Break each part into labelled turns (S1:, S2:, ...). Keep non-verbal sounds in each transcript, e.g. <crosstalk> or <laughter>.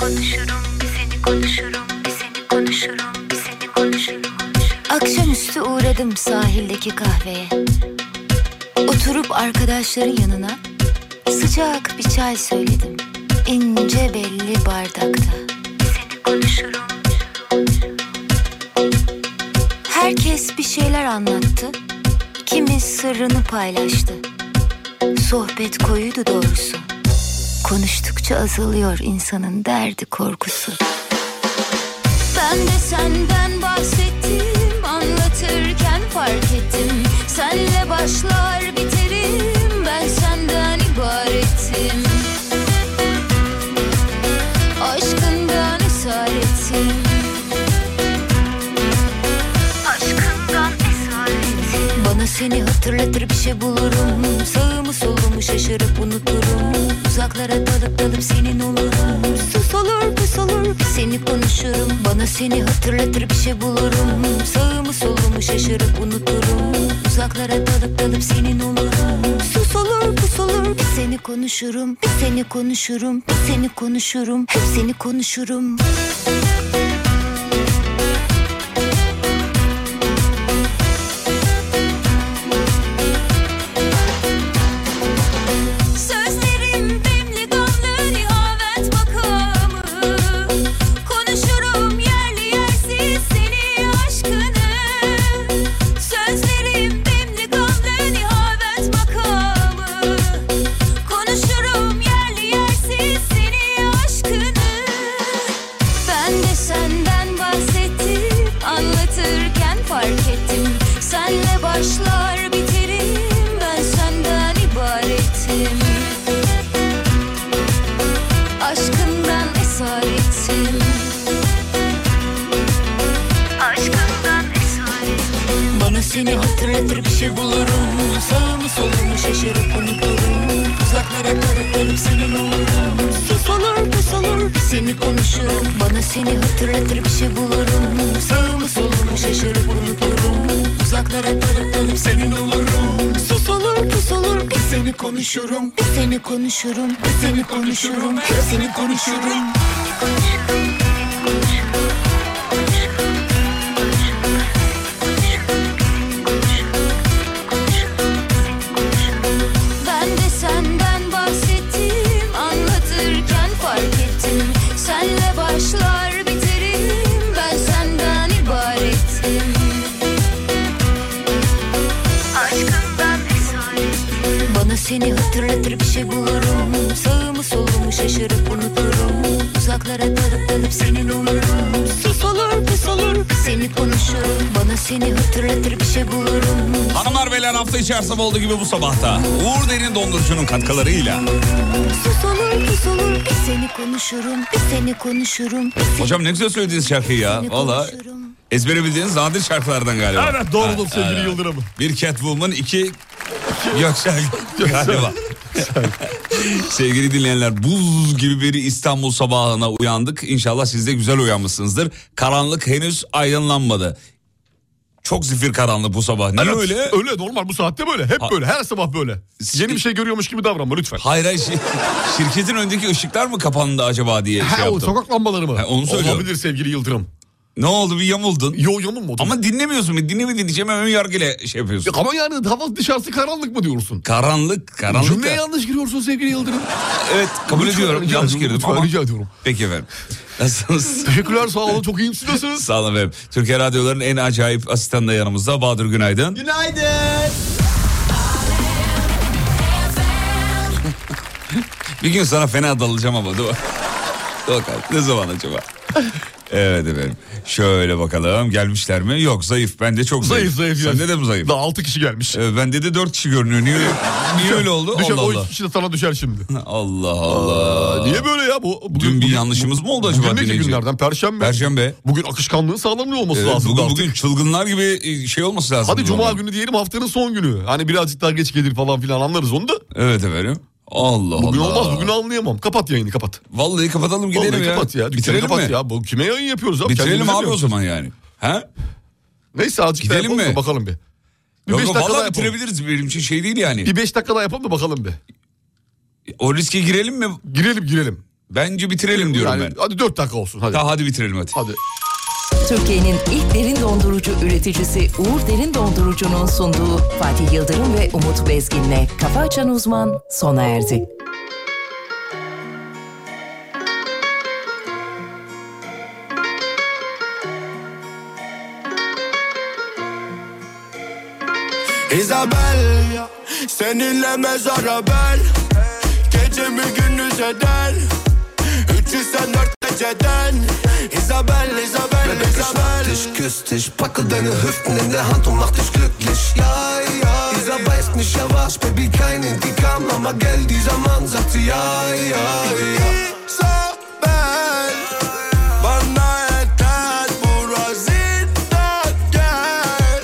S1: konuşurum, bir seni konuşurum, bir seni konuşurum, bir seni konuşurum.
S2: Akşamüstü uğradım sahildeki kahveye. Oturup arkadaşların yanına sıcak bir çay söyledim. İnce belli bardakta.
S1: Seni konuşurum,
S2: Herkes bir şeyler anlattı. Kimi sırrını paylaştı. Sohbet koyuydu doğrusu. Konuştukça azalıyor insanın derdi korkusu. Ben de senden bahsettim anlatırken fark ettim. Senle başlar biterim ben senden ibarettim. Aşkından esaretim.
S1: aşkından esaretim.
S2: Bana seni hatırlatır bir şey bulurum Sağımı solumu şaşırıp unuturum Uzaklara dalıp dalıp senin olurum Sus olur pus olur bir seni konuşurum Bana seni hatırlatır bir şey bulurum Sağımı solumu şaşırıp unuturum Uzaklara dalıp dalıp senin olurum Sus olur pus olur bir seni konuşurum Bir seni konuşurum bir seni konuşurum Hep seni konuşurum
S1: Sözlerim demli gamlı nihavet makamı Konuşurum yerli yersiz seni aşkını Sözlerim demli gamlı nihavet makamı Konuşurum yerli yersiz seni aşkını
S2: Ben de senden bahsettim Anlatırken fark ettim Senle başlar biterim Ben senden ibaretim Aşkından esaretim
S1: Aşkından esaret
S2: Bana seni hatırlatır bir şey bulurum Sağımı solumu şaşırıp unuturum Uzaklara tarıklarım senin olurum Sus olur pus olur seni konuşurum Bana seni hatırlatır bir şey bulurum Sağımı solumu şaşırıp unuturum Uzaklara tarıklarım senin olurum Sus olur pus olur bir seni konuşurum Bir seni konuşurum bir seni konuşurum Hep seni konuşurum Ben de senden bahsettim anlatırken fark ettim Senle başlar biterim ben senden ibarettim
S1: Aşkından esaret
S2: Bana seni hatırlatır bir şey bulurum Sağımı solumu şaşırıp unuturum Uzaklara dalıp dalıp senin olurum Sus olur pus olur seni konuşurum Bana seni hatırlatır bir şey bulurum
S3: Hanımlar beyler hafta içi her sabah olduğu gibi bu sabahta Uğur Derin Dondurucu'nun katkılarıyla.
S2: Sus olur pus olur bir seni konuşurum Bir seni konuşurum bir seni
S3: Hocam ne güzel söylediğiniz şarkıyı ya. Valla
S2: konuşurum.
S3: ezbere bildiğiniz nadir şarkılardan galiba.
S4: Evet doğrudur
S3: Ha,
S4: sevgili
S3: evet.
S4: Yıldırım.
S3: Bir Catwoman, iki Göksel galiba. Sevgili dinleyenler buz gibi bir İstanbul sabahına uyandık. İnşallah siz de güzel uyanmışsınızdır. Karanlık henüz aydınlanmadı. Çok zifir karanlık bu sabah. Niye
S4: Evet,
S3: öyle?
S4: Öyle normal bu saatte böyle. Hep
S3: Ha-
S4: böyle her sabah böyle. Yeni bir şey görüyormuş gibi davranma lütfen.
S3: Hayır hayır şi- şirketin öndeki ışıklar mı kapandı acaba diye
S4: Ha,
S3: şey
S4: o
S3: yaptım.
S4: sokak lambaları mı?
S3: Ha, onu söylüyorum.
S4: Olabilir sevgili Yıldırım.
S3: Ne oldu bir yamuldun?
S4: Yo yamulmadı.
S3: Ama dinlemiyorsun. bir Dinlemediğin için hemen ön yargıyla şey yapıyorsun.
S4: Ya ama yani hava dışarısı karanlık mı diyorsun?
S3: Karanlık, karanlık. da-
S4: Cümleye yanlış giriyorsun sevgili Yıldırım.
S3: Evet kabul
S4: Lütfen
S3: ediyorum.
S4: rica
S3: Yanlış
S4: ediyorum,
S3: girdim
S4: lütfen
S3: ama.
S4: rica ediyorum.
S3: Peki efendim. Nasılsınız?
S4: Teşekkürler sağ olun çok iyiyim siz nasılsınız?
S3: <laughs> Sağ olun efendim. Türkiye Radyoları'nın en acayip asistanı da yanımızda. Bahadır Günaydın. <laughs>
S5: Günaydın.
S3: Bir gün sana fena dalacağım ama dur. Dur bakalım ne zaman acaba? Evet efendim. Şöyle bakalım gelmişler mi? Yok zayıf. Ben de çok zayıf.
S4: Zayıf zayıf.
S3: Sende de mi zayıf?
S4: Daha 6 kişi gelmiş.
S3: Ee, bende de 4 kişi görünüyor. Niye, niye öyle oldu?
S4: Düşer,
S3: Allah
S4: o
S3: Allah.
S4: üç kişi de sana düşer şimdi.
S3: Allah Allah.
S4: Aa, niye böyle ya bu?
S3: Dün bir yanlışımız mı oldu acaba
S4: Bugün ne ki
S3: dinleyici?
S4: günlerden? Perşembe.
S3: Perşembe.
S4: Bugün akışkanlığın sağlamlığı olması
S3: Ee,
S4: lazım.
S3: bugün, bugün çılgınlar gibi e, şey olması lazım.
S4: Hadi
S3: o
S4: cuma
S3: zaman.
S4: günü diyelim haftanın son günü. Hani birazcık daha geç gelir falan filan anlarız onu da.
S3: Evet efendim. Allah
S4: Bugün
S3: Allah.
S4: olmaz bugün anlayamam. Kapat yayını kapat.
S3: Vallahi kapatalım gidelim
S4: Vallahi
S3: ya.
S4: kapat ya. dükkanı
S3: Bitirelim
S4: kapat
S3: mi?
S4: ya. Bu kime yayın yapıyoruz abi?
S3: Bitirelim
S4: Kendimize
S3: abi o
S4: mi?
S3: zaman yani. He?
S4: Neyse azıcık daha
S3: Gidelim
S4: yapalım
S3: mi?
S4: da bakalım bir. Bir
S3: Yok,
S4: beş dakika
S3: yok
S4: daha
S3: valla
S4: yapalım.
S3: bitirebiliriz benim için şey değil yani.
S4: Bir 5 dakika daha yapalım da bakalım bir.
S3: O riske girelim mi?
S4: Girelim girelim.
S3: Bence bitirelim diyorum
S4: yani,
S3: ben.
S4: Hadi 4 dakika olsun hadi.
S3: Daha hadi bitirelim hadi.
S4: Hadi.
S6: Türkiye'nin ilk derin dondurucu üreticisi Uğur Derin Dondurucu'nun sunduğu Fatih Yıldırım ve Umut Bezgin'le Kafa Açan Uzman sona erdi.
S5: Isabel Seninle mezara ben Gecemi gündüz eder Üçü sen dört geceden Isabel, Isabel, Isabel
S7: Ich küss dich, packe deine Hüften in der Hand und mach dich glücklich. Ja, ja. Dieser weiß nicht, er war's, Baby, kein Indikam. Aber gell, dieser Mann sagt sie, ja, ja, ja.
S5: Isabel Bana yeter Bura ziddet gel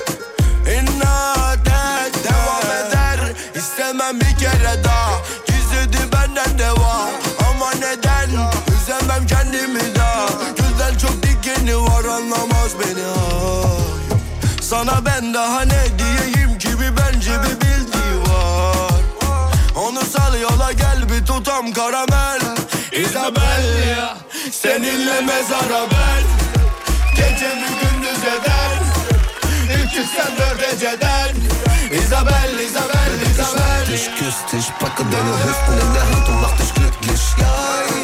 S5: İnat et Devam eder İstemem bir kere daha Gizledi benden deva Ama neden Üzemem kendimi daha Güzel çok dikeni var Anlamaz beni ah. Sana ben daha ne diyeyim ki bir bence bir bildiği var Onu sal yola gel bir tutam karamel Isabel ya seninle mezara ben Gece bir gündüz eder İki sen dört eceden Isabel, Isabel, Isabel
S7: Ich küss dich, packe deine Hüften in der Hand und mach dich glücklich. Ja,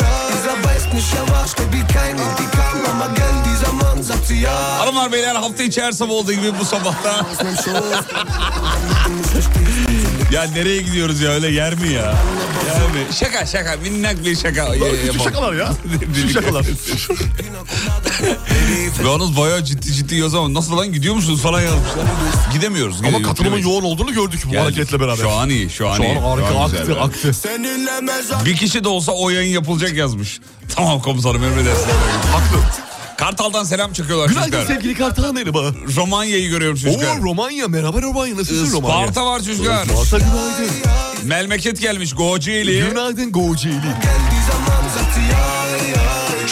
S7: ja. Dieser weiß nicht, er war's, Baby, kein Indikam. Aber gell, dieser Mann sagt sie, ja.
S3: Hanımlar beyler hafta içi her sabah olduğu gibi bu sabahta. <laughs> ya nereye gidiyoruz ya öyle yer mi ya? Yer mi? Şaka şaka minnak bir şaka. Ya,
S4: Şu
S3: Şey yapalım.
S4: şakalar
S3: <laughs>
S4: ya. Şu şakalar.
S3: Yalnız bayağı ciddi ciddi yazamam. Nasıl lan gidiyor musunuz falan yazmışlar. Gidemiyoruz.
S4: Ama
S3: gidiyoruz,
S4: katılımın
S3: gidemeyiz.
S4: yoğun olduğunu gördük bu
S3: Geldik.
S4: hareketle beraber.
S3: Şu an iyi şu an
S4: Şu
S3: iyi.
S4: an harika
S3: güzel
S4: aktı
S3: yani.
S4: aktı.
S5: Seninle mezara
S3: Bir kişi de olsa o yayın yapılacak yazmış. Tamam komutanım emredersiniz.
S4: Haklı.
S3: Kartal'dan selam çakıyorlar
S4: Günaydın
S3: çocuklar.
S4: sevgili Kartahan bana.
S3: Romanya'yı görüyorum çocuklar.
S4: Oo Romanya merhaba Romanya nasılsın Romanya?
S3: Sparta var çocuklar.
S4: Sparta günaydın.
S3: Melmeket gelmiş Goceeli.
S4: Günaydın Goğuceyli.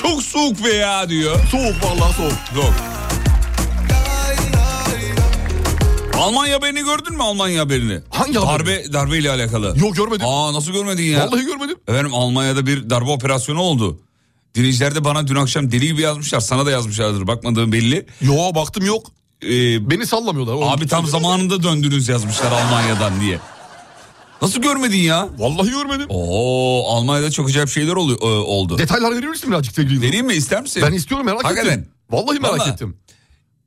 S3: Çok soğuk be ya diyor.
S4: Soğuk vallahi soğuk.
S3: Soğuk. Almanya haberini gördün mü Almanya haberini?
S4: Hangi haber?
S3: Darbe, darbe ile alakalı.
S4: Yok, görmedim.
S3: Aa nasıl görmedin ya?
S4: Vallahi görmedim.
S3: Efendim Almanya'da bir darbe operasyonu oldu. Dinleyiciler de bana dün akşam deli gibi yazmışlar. Sana da yazmışlardır bakmadığım belli.
S4: Yo baktım yok.
S3: Ee,
S4: Beni sallamıyorlar. Oğlum.
S3: abi tam zamanında döndünüz yazmışlar Almanya'dan diye. Nasıl görmedin ya?
S4: Vallahi görmedim.
S3: Oo Almanya'da çok acayip şeyler oluyor, e, oldu.
S4: Detaylar verir misin birazcık sevgili dinleyiciler?
S3: Vereyim mi ister misin?
S4: Ben istiyorum merak
S3: Hakikaten.
S4: ettim. Vallahi merak
S3: Vallahi.
S4: ettim.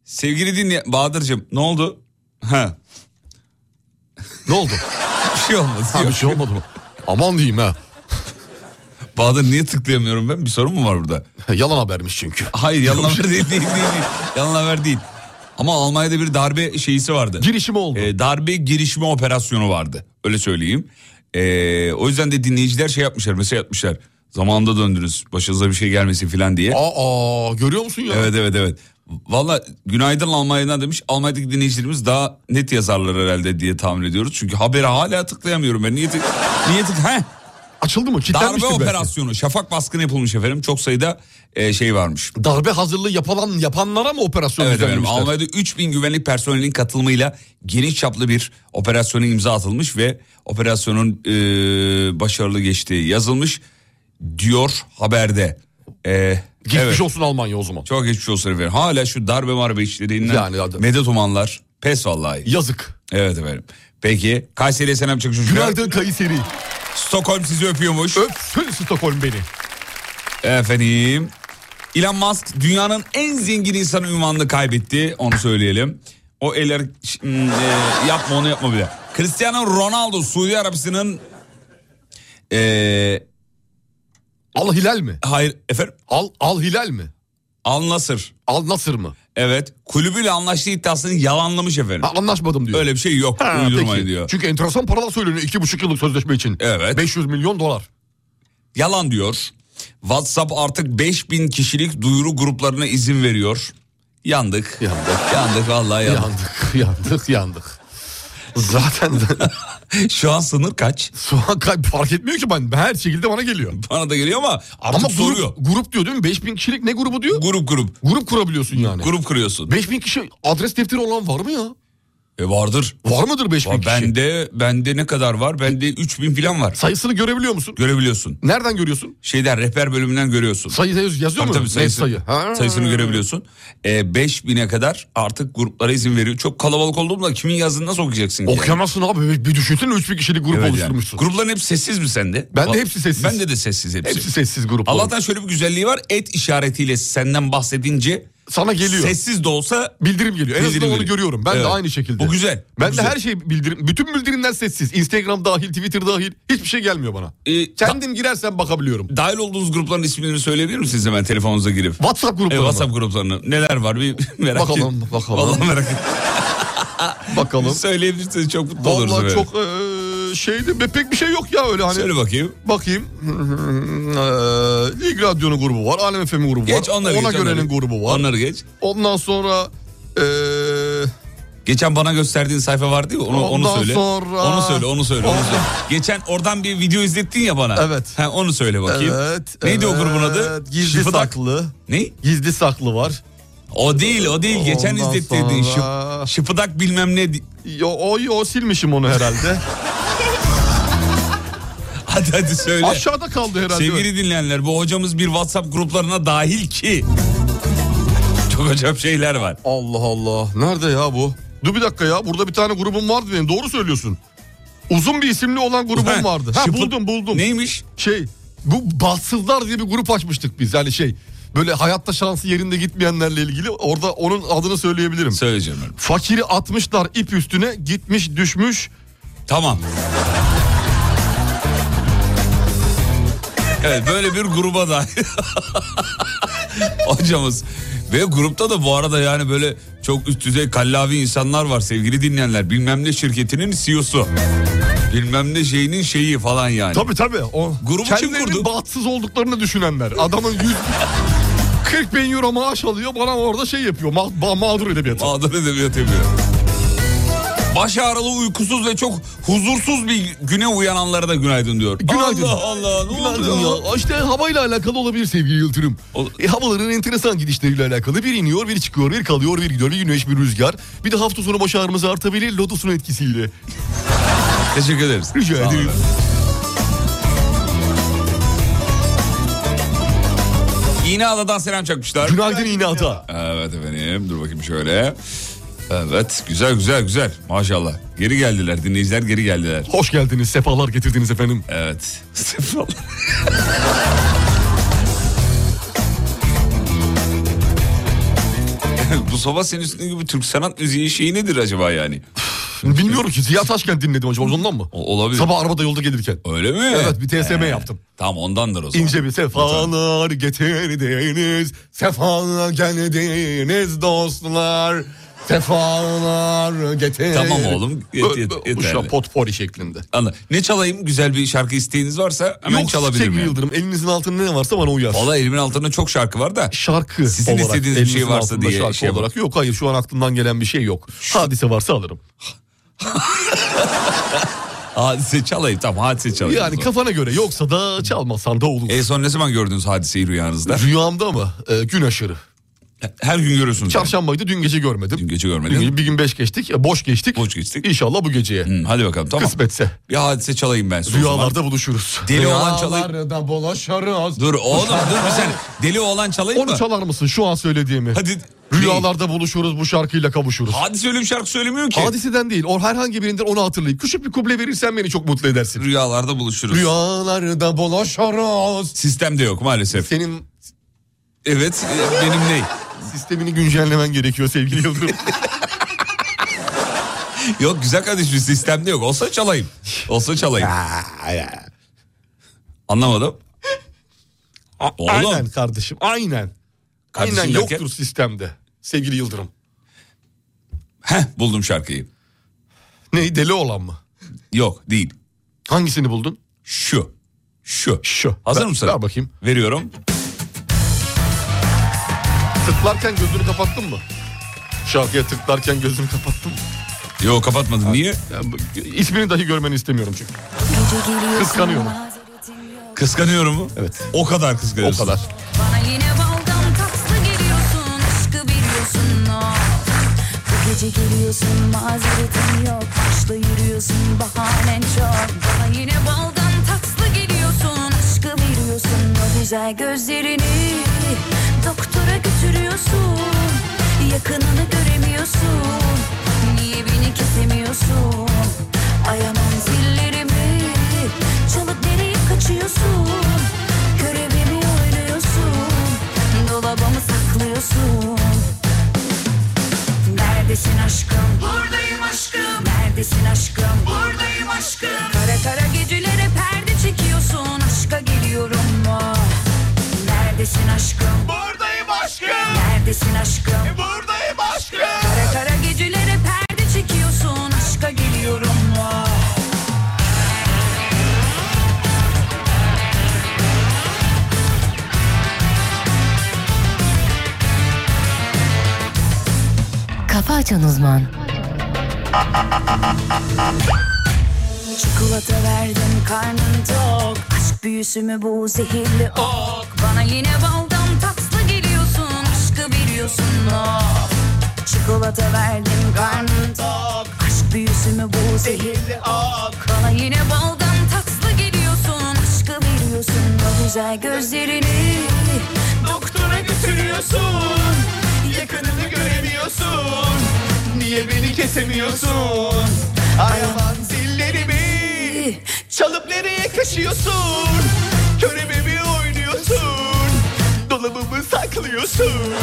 S3: Sevgili dinle Bahadır'cığım ne oldu? Ha,
S4: Ne oldu?
S3: bir şey olmadı.
S4: Ha, bir
S3: Yok.
S4: şey olmadı mı? Aman diyeyim ha.
S3: Bahadır niye tıklayamıyorum ben? Bir sorun mu var burada?
S4: Yalan habermiş çünkü.
S3: Hayır yalan haber değil, değil, değil, değil. Yalan haber değil. Ama Almanya'da bir darbe şeysi vardı.
S4: Girişimi oldu.
S3: Ee, darbe girişimi operasyonu vardı. Öyle söyleyeyim. Ee, o yüzden de dinleyiciler şey yapmışlar. Mesela yapmışlar. Zamanında döndünüz. Başınıza bir şey gelmesin falan diye.
S4: Aa, görüyor musun ya?
S3: Evet evet evet. Valla günaydın Almanya'dan demiş. Almanya'daki dinleyicilerimiz daha net yazarlar herhalde diye tahmin ediyoruz. Çünkü habere hala tıklayamıyorum ben. Niye tık... Niye tık... Heh,
S4: Açıldı mı?
S3: darbe
S4: Kilitlenmiştir belki.
S3: operasyonu. Şafak baskını yapılmış efendim. Çok sayıda e, şey varmış.
S4: Darbe hazırlığı yapılan yapanlara mı operasyon
S3: Evet efendim
S4: düzenlemişler?
S3: Almanya'da 3000 güvenlik personelinin katılımıyla geniş çaplı bir operasyona imza atılmış ve operasyonun e, başarılı geçtiği yazılmış diyor haberde. E,
S4: Gitmiş
S3: evet.
S4: olsun Almanya o zaman.
S3: Çok geçmiş olsun efendim. Hala şu darbe marbe işlerinden
S4: Yani adam-
S3: medet umanlar. Pes vallahi.
S4: Yazık.
S3: Evet efendim. Peki Kayseri'ye selam çok çocuklar.
S4: Günaydın Kayseri.
S3: Stockholm sizi öpüyormuş.
S4: Öpsün Stockholm beni.
S3: Efendim. Elon Musk dünyanın en zengin insanı ünvanını kaybetti. Onu söyleyelim. O eller Hmm, e, yapma onu yapma bile. Cristiano Ronaldo Suudi Arabisinin e,
S4: Al Hilal mi?
S3: hayır efendim
S4: Al Al Hilal mi?
S3: Al Nasır.
S4: Al Nasır mı?
S3: Evet. Kulübüyle anlaştığı iddiasını yalanlamış efendim.
S4: Ha, anlaşmadım diyor.
S3: Öyle bir şey yok.
S4: Ha,
S3: Uydurmayın
S4: peki.
S3: diyor.
S4: Çünkü enteresan paralar söyleniyor iki buçuk yıllık sözleşme için.
S3: Evet.
S4: 500 milyon dolar.
S3: Yalan diyor. WhatsApp artık 5000 kişilik duyuru gruplarına izin veriyor. Yandık.
S4: Yandık.
S3: Yandık vallahi yandık.
S4: Yandık, <laughs> yandık, yandık. Zaten <laughs>
S3: <laughs> Şu an sınır kaç?
S4: şu an kay- fark etmiyor ki ben. Her şekilde bana geliyor.
S3: Bana da geliyor ama artık
S4: Ama
S3: soruyor.
S4: grup, grup diyor değil mi? 5000 kişilik ne grubu diyor?
S3: Grup grup.
S4: Grup kurabiliyorsun yani.
S3: Grup kuruyorsun.
S4: 5000 kişi adres defteri olan var mı ya?
S3: E vardır.
S4: Var mıdır 5000
S3: Var,
S4: kişi?
S3: Bende bende ne kadar var? Bende 3000 falan var.
S4: Sayısını görebiliyor musun?
S3: Görebiliyorsun.
S4: Nereden görüyorsun?
S3: Şeyden rehber bölümünden görüyorsun.
S4: Sayı yaz- yazıyor
S3: Tabii
S4: mu?
S3: tabii
S4: Net
S3: sayısı-
S4: sayı. Ha.
S3: sayısını görebiliyorsun. E, 5000'e kadar artık gruplara izin veriyor. Çok kalabalık olduğunda kimin yazdığını nasıl okuyacaksın ki?
S4: Okuyamazsın abi. Bir düşünsene 3000 kişilik grup
S3: Evet yani.
S4: oluşturmuşsun.
S3: Grupların hepsi sessiz mi sende?
S4: Ben de
S3: Bak-
S4: hepsi sessiz.
S3: Bende de sessiz hepsi.
S4: Hepsi sessiz grup.
S3: Allah'tan şöyle bir güzelliği var. Et işaretiyle senden bahsedince
S4: Sana geliyor.
S3: sessiz de olsa
S4: Bildirim geliyor. En
S3: Bildirim
S4: azından onu
S3: geliyor.
S4: görüyorum. Ben
S3: Evet.
S4: de aynı şekilde.
S3: Bu güzel, bu
S4: Ben de
S3: güzel.
S4: her şey bildirim. Bütün bildirimler sessiz. Instagram dahil, Twitter dahil. Hiçbir şey gelmiyor bana.
S3: e, ta-
S4: Kendim girersem bakabiliyorum.
S3: dahil olduğunuz grupların ismini söyleyebilir misiniz hemen telefonunuza girip?
S4: WhatsApp
S3: E,
S4: grupları.
S3: WhatsApp gruplarını. Neler var bir <laughs> merak et-
S4: Bakalım, bakalım.
S3: <laughs> Vallahi merak ettim.
S4: Bakalım.
S3: Söyleyebilirseniz çok mutlu oluruz.
S4: Vallahi
S3: efendim.
S4: çok eee, şeydi. be- Pek bir şey yok ya öyle hani.
S3: Söyle bakayım.
S4: Bakayım. <laughs> Hmm, eee, Lig Radyo'nun grubu var. Alem FM'in grubu
S3: Geç
S4: var.
S3: onları
S4: Ona
S3: geç.
S4: görenin
S3: onları.
S4: grubu var.
S3: Onları geç.
S4: Ondan sonra e, eee,
S3: Geçen bana gösterdiğin sayfa vardı ya onu, onu
S4: Ondan
S3: söyle.
S4: sonra-
S3: Onu söyle onu söyle onu
S4: Ondan- <laughs>
S3: söyle. Geçen oradan bir video izlettin ya bana.
S4: Evet.
S3: Ha, onu söyle bakayım.
S4: evet.
S3: Neydi o
S4: evet,
S3: grubun adı?
S4: Gizli
S3: Şıfıdak.
S4: saklı.
S3: Ne?
S4: Gizli saklı var.
S3: O değil o değil. Geçen
S4: Ondan
S3: izlettirdin.
S4: sonra-
S3: Şıp, şıpıdak bilmem ne. di- <laughs>
S4: Yo, o, yo silmişim onu herhalde.
S3: Hadi hadi söyle.
S4: Aşağıda kaldı herhalde.
S3: Sevgili dinleyenler bu hocamız bir WhatsApp gruplarına dahil ki. <laughs> Çok acayip şeyler var.
S4: Allah Allah. Nerede ya bu? Dur bir dakika ya. Burada bir tane grubum vardı benim. Doğru söylüyorsun. Uzun bir isimli olan grubum
S3: <laughs> Ha,
S4: vardı. Ha,
S3: şıpı-
S4: buldum buldum.
S3: Neymiş?
S4: Şey bu bahtsızlar diye bir grup açmıştık biz. Yani şey böyle hayatta şansı yerinde gitmeyenlerle ilgili. Orada onun adını söyleyebilirim.
S3: Söyleyeceğim ben.
S4: Fakiri atmışlar ip üstüne gitmiş düşmüş.
S3: Tamam. Evet böyle bir gruba da <laughs> hocamız ve grupta da bu arada yani böyle çok üst düzey kallavi insanlar var sevgili dinleyenler. Bilmem ne şirketinin CEO'su. Bilmem ne şeyinin şeyi falan yani.
S4: Tabii tabii. O
S3: Grubu kim
S4: kendilerinin
S3: kurdu?
S4: bahtsız olduklarını düşünenler. Adamın <laughs> 100 40 bin euro maaş alıyor bana orada şey yapıyor. Ma ma- mağdur edebiyatı.
S3: Mağdur edebiyat yapıyor. Baş ağrılı, uykusuz ve çok huzursuz bir güne uyananlara da günaydın diyor.
S4: Günaydın.
S3: Allah Allah ne
S4: Günaydın
S3: oluyor?
S4: ya. İşte havayla alakalı olabilir sevgili Yıldırım.
S3: Ol-
S4: E, havaların enteresan gidişleriyle alakalı. Bir iniyor, bir çıkıyor, bir kalıyor, bir gidiyor, bir güneş, bir rüzgar. Bir de hafta sonu baş ağrımız artabilir lotusun etkisiyle.
S3: Teşekkür ederiz.
S4: Rica
S3: Sağ olun
S4: ederim.
S3: efendim. İğneada'dan selam çakmışlar.
S4: Günaydın İnata.
S3: Evet efendim dur bakayım şöyle. Evet güzel güzel güzel maşallah. Geri geldiler dinleyiciler geri geldiler.
S4: Hoş geldiniz, sefalar getirdiniz efendim.
S3: Evet. <laughs> Bu sabah senin üstündeki gibi Türk sanat müziği şeyi nedir acaba yani?
S4: Bilmiyorum ki Ziya Taşkent dinledim acaba ondan mı?
S3: O- olabilir.
S4: Sabah arabada yolda gelirken.
S3: Öyle mi?
S4: Evet bir TSM yaptım.
S3: Tamam ondandır o zaman.
S4: İnce bir sefalar getirdiniz, sefalar geldiniz dostlar. Sefalar getirdiniz.
S3: Tamam oğlum, yet-
S4: Böyle-
S3: yet-
S4: Bu şu an
S3: yeterli.
S4: potpori şeklinde.
S3: Anla. Ne çalayım? Güzel bir şarkı isteğiniz varsa hemen
S4: Yok
S3: çalabilirim.
S4: sevgili
S3: Yani.
S4: Yıldırım elinizin altında ne varsa bana uyar.
S3: Valla elimin altında çok şarkı var da.
S4: şarkı
S3: Sizin
S4: olarak,
S3: istediğiniz bir şey
S4: elinizin
S3: varsa
S4: altında
S3: diye
S4: şarkı
S3: şey
S4: olarak yok hayır şu an aklımdan gelen bir şey yok. Hadise varsa alırım.
S3: Hadise çalayım. Tamam hadise çalayım.
S4: Yani
S3: o zaman.
S4: kafana göre yoksa da çalmasan da olur.
S3: En son ne zaman gördünüz hadiseyi <laughs> rüyanızda?
S4: Rüyamda mı? Ee, gün aşırı.
S3: Her gün görüyorsunuz. yani.
S4: Çarşambaydı dün gece görmedim.
S3: Dün gece
S4: Bir
S3: görmedim.
S4: gün, bir gün beş geçtik, e, boş geçtik.
S3: Boş geçtik.
S4: İnşallah bu geceye.
S3: Hı, hadi bakalım tamam.
S4: Kısmetse.
S3: Bir hadise çalayım ben. size o zaman.
S4: Rüyalarda buluşuruz.
S3: Deli olan çalayım.
S4: Rüyalarda buluşuruz.
S3: Dur oğlum dur bir <laughs> sen. Deli oğlan çalayım mı?
S4: Onu çalar mısın şu an söylediğimi?
S3: Hadi.
S4: Rüyalarda buluşuruz bu şarkıyla kavuşuruz.
S3: Hadise öyle bir şarkı söylemiyor ki.
S4: Hadiseden değil, o herhangi birinden onu hatırlayıp küçük bir kuble verirsen beni çok mutlu edersin.
S3: Rüyalarda buluşuruz.
S4: Rüyalarda buluşuruz.
S3: Sistemde yok maalesef.
S4: Senin
S3: Evet e, benim ne?
S4: sistemini güncellemen gerekiyor sevgili Yıldırım.
S3: Yok güzel kardeşim sistemde yok. Olsa çalayım. Olsa çalayım. Anlamadım. Oğlum
S4: Aynen kardeşim, aynen. Aynen
S3: Kardeşim derken-
S4: yoktur sistemde sevgili Yıldırım.
S3: Heh, buldum şarkıyı.
S4: Ne deli olan mı?
S3: Yok değil.
S4: Hangisini buldun?
S3: Şu. Şu.
S4: Şu.
S3: Hazır
S4: Ver-
S3: mısın?
S4: Ver bakayım.
S3: Veriyorum.
S4: Tıklarken gözünü kapattın mı? Şarkıya tıklarken gözünü kapattın mı?
S3: Yok kapatmadın. Niye?
S4: Yani bu- ismini dahi görmeni istemiyorum çünkü. Kıskanıyor mu?
S3: Kıskanıyorum mu?
S4: Evet.
S3: O kadar
S4: O
S3: kıskanıyorsun.
S4: kadar.
S8: Bana yine baldan tatlı geliyorsun Aşkı biliyorsun o Bu gece geliyorsun mazeretin yok Başla yürüyorsun bahanen çok Bana yine baldan tatlı geliyorsun Aşkı biliyorsun o güzel gözlerini Doktora götürüyorsun Yakınını göremiyorsun Niye beni kesemiyorsun Ayamam zillerimi Çalıp nereye kaçıyorsun Görevimi oynuyorsun Dolabımı saklıyorsun Neredesin aşkım? Buradayım aşkım. Neredesin aşkım? Buradayım aşkım. Kara kara gecelere perde çekiyorsun. Aşka geliyorum mu? Neredesin aşkım?
S5: Buradayım aşkım
S8: Neredesin aşkım?
S5: Buradayım aşkım
S8: Kara kara gecelere perde çekiyorsun. Aşka geliyorum mu?
S6: Kafa Açan Uzman
S8: Çikolata verdim karnın tok Aşk büyüsü mü bu zehirli ok Bana yine baldan tatlı geliyorsun Aşkı biliyorsun ok Çikolata verdim karnın tok Aşk büyüsü mü bu zehirli ok Bana yine baldan tatlı geliyorsun Aşkı biliyorsun o güzel gözlerini
S5: Doktora götürüyorsun Yakınını göremiyorsun Niye beni kesemiyorsun Ayaman zillerimi Çalıp nereye kaşıyorsun Körememi oynuyorsun Dolabımı saklıyorsun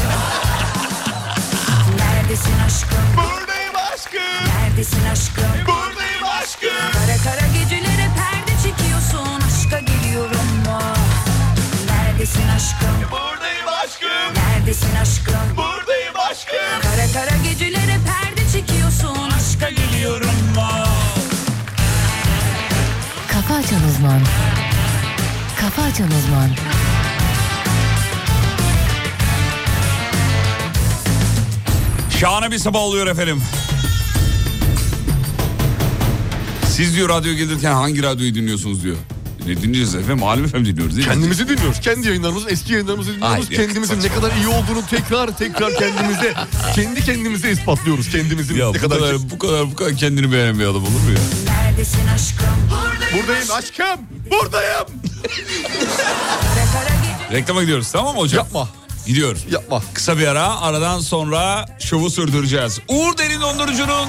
S8: Neredesin aşkım?
S5: Buradayım aşkım
S8: Neredesin aşkım?
S5: Buradayım aşkım
S8: Kara kara gecelere perde çekiyorsun Aşka geliyorum mu? Neredesin aşkım?
S5: Buradayım aşkım
S8: Neredesin aşkım?
S5: Buradayım aşkım
S8: Kara kara gecelere perde çekiyorsun Aşka geliyorum mu?
S6: Kafa Açan Uzman Kafa Açan Uzman
S3: Şahane bir sabah oluyor efendim. Siz diyor radyo gelirken hangi radyoyu dinliyorsunuz diyor. E, Ne dinleyeceğiz efendim? Alem efendim dinliyoruz değil mi?
S4: Kendimizi dinliyoruz. Kendi yayınlarımızı, eski yayınlarımızı dinliyoruz.
S3: Hayır, yok,
S4: kendimizin ne kadar iyi olduğunu tekrar tekrar kendimize, kendi kendimize ispatlıyoruz. Kendimizin
S3: Ya
S4: ne
S3: bu
S4: kadar... şey-
S3: kadar, bu kadar bu kadar kendini beğenmeyelim olur mu ya?
S8: Neredesin aşkım?
S4: Buradayım aşkım, buradayım.
S8: Kara kara gece
S3: Reklama gidiyoruz tamam mı hocam?
S4: Yapma,
S3: Gidiyoruz.
S4: yapma.
S3: Kısa bir ara aradan sonra şovu sürdüreceğiz. Uğur Derin Dondurucu'nun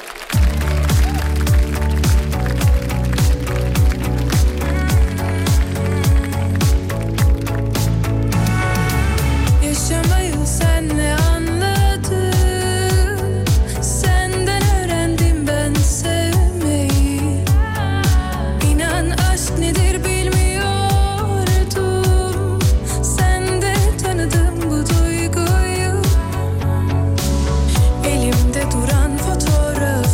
S8: Yaşamayı senle anladım Senden öğrendim ben sevmeyi İnan aşk nedir bilmiyordum Sende tanıdım bu duyguyu Elimde duran fotoğraf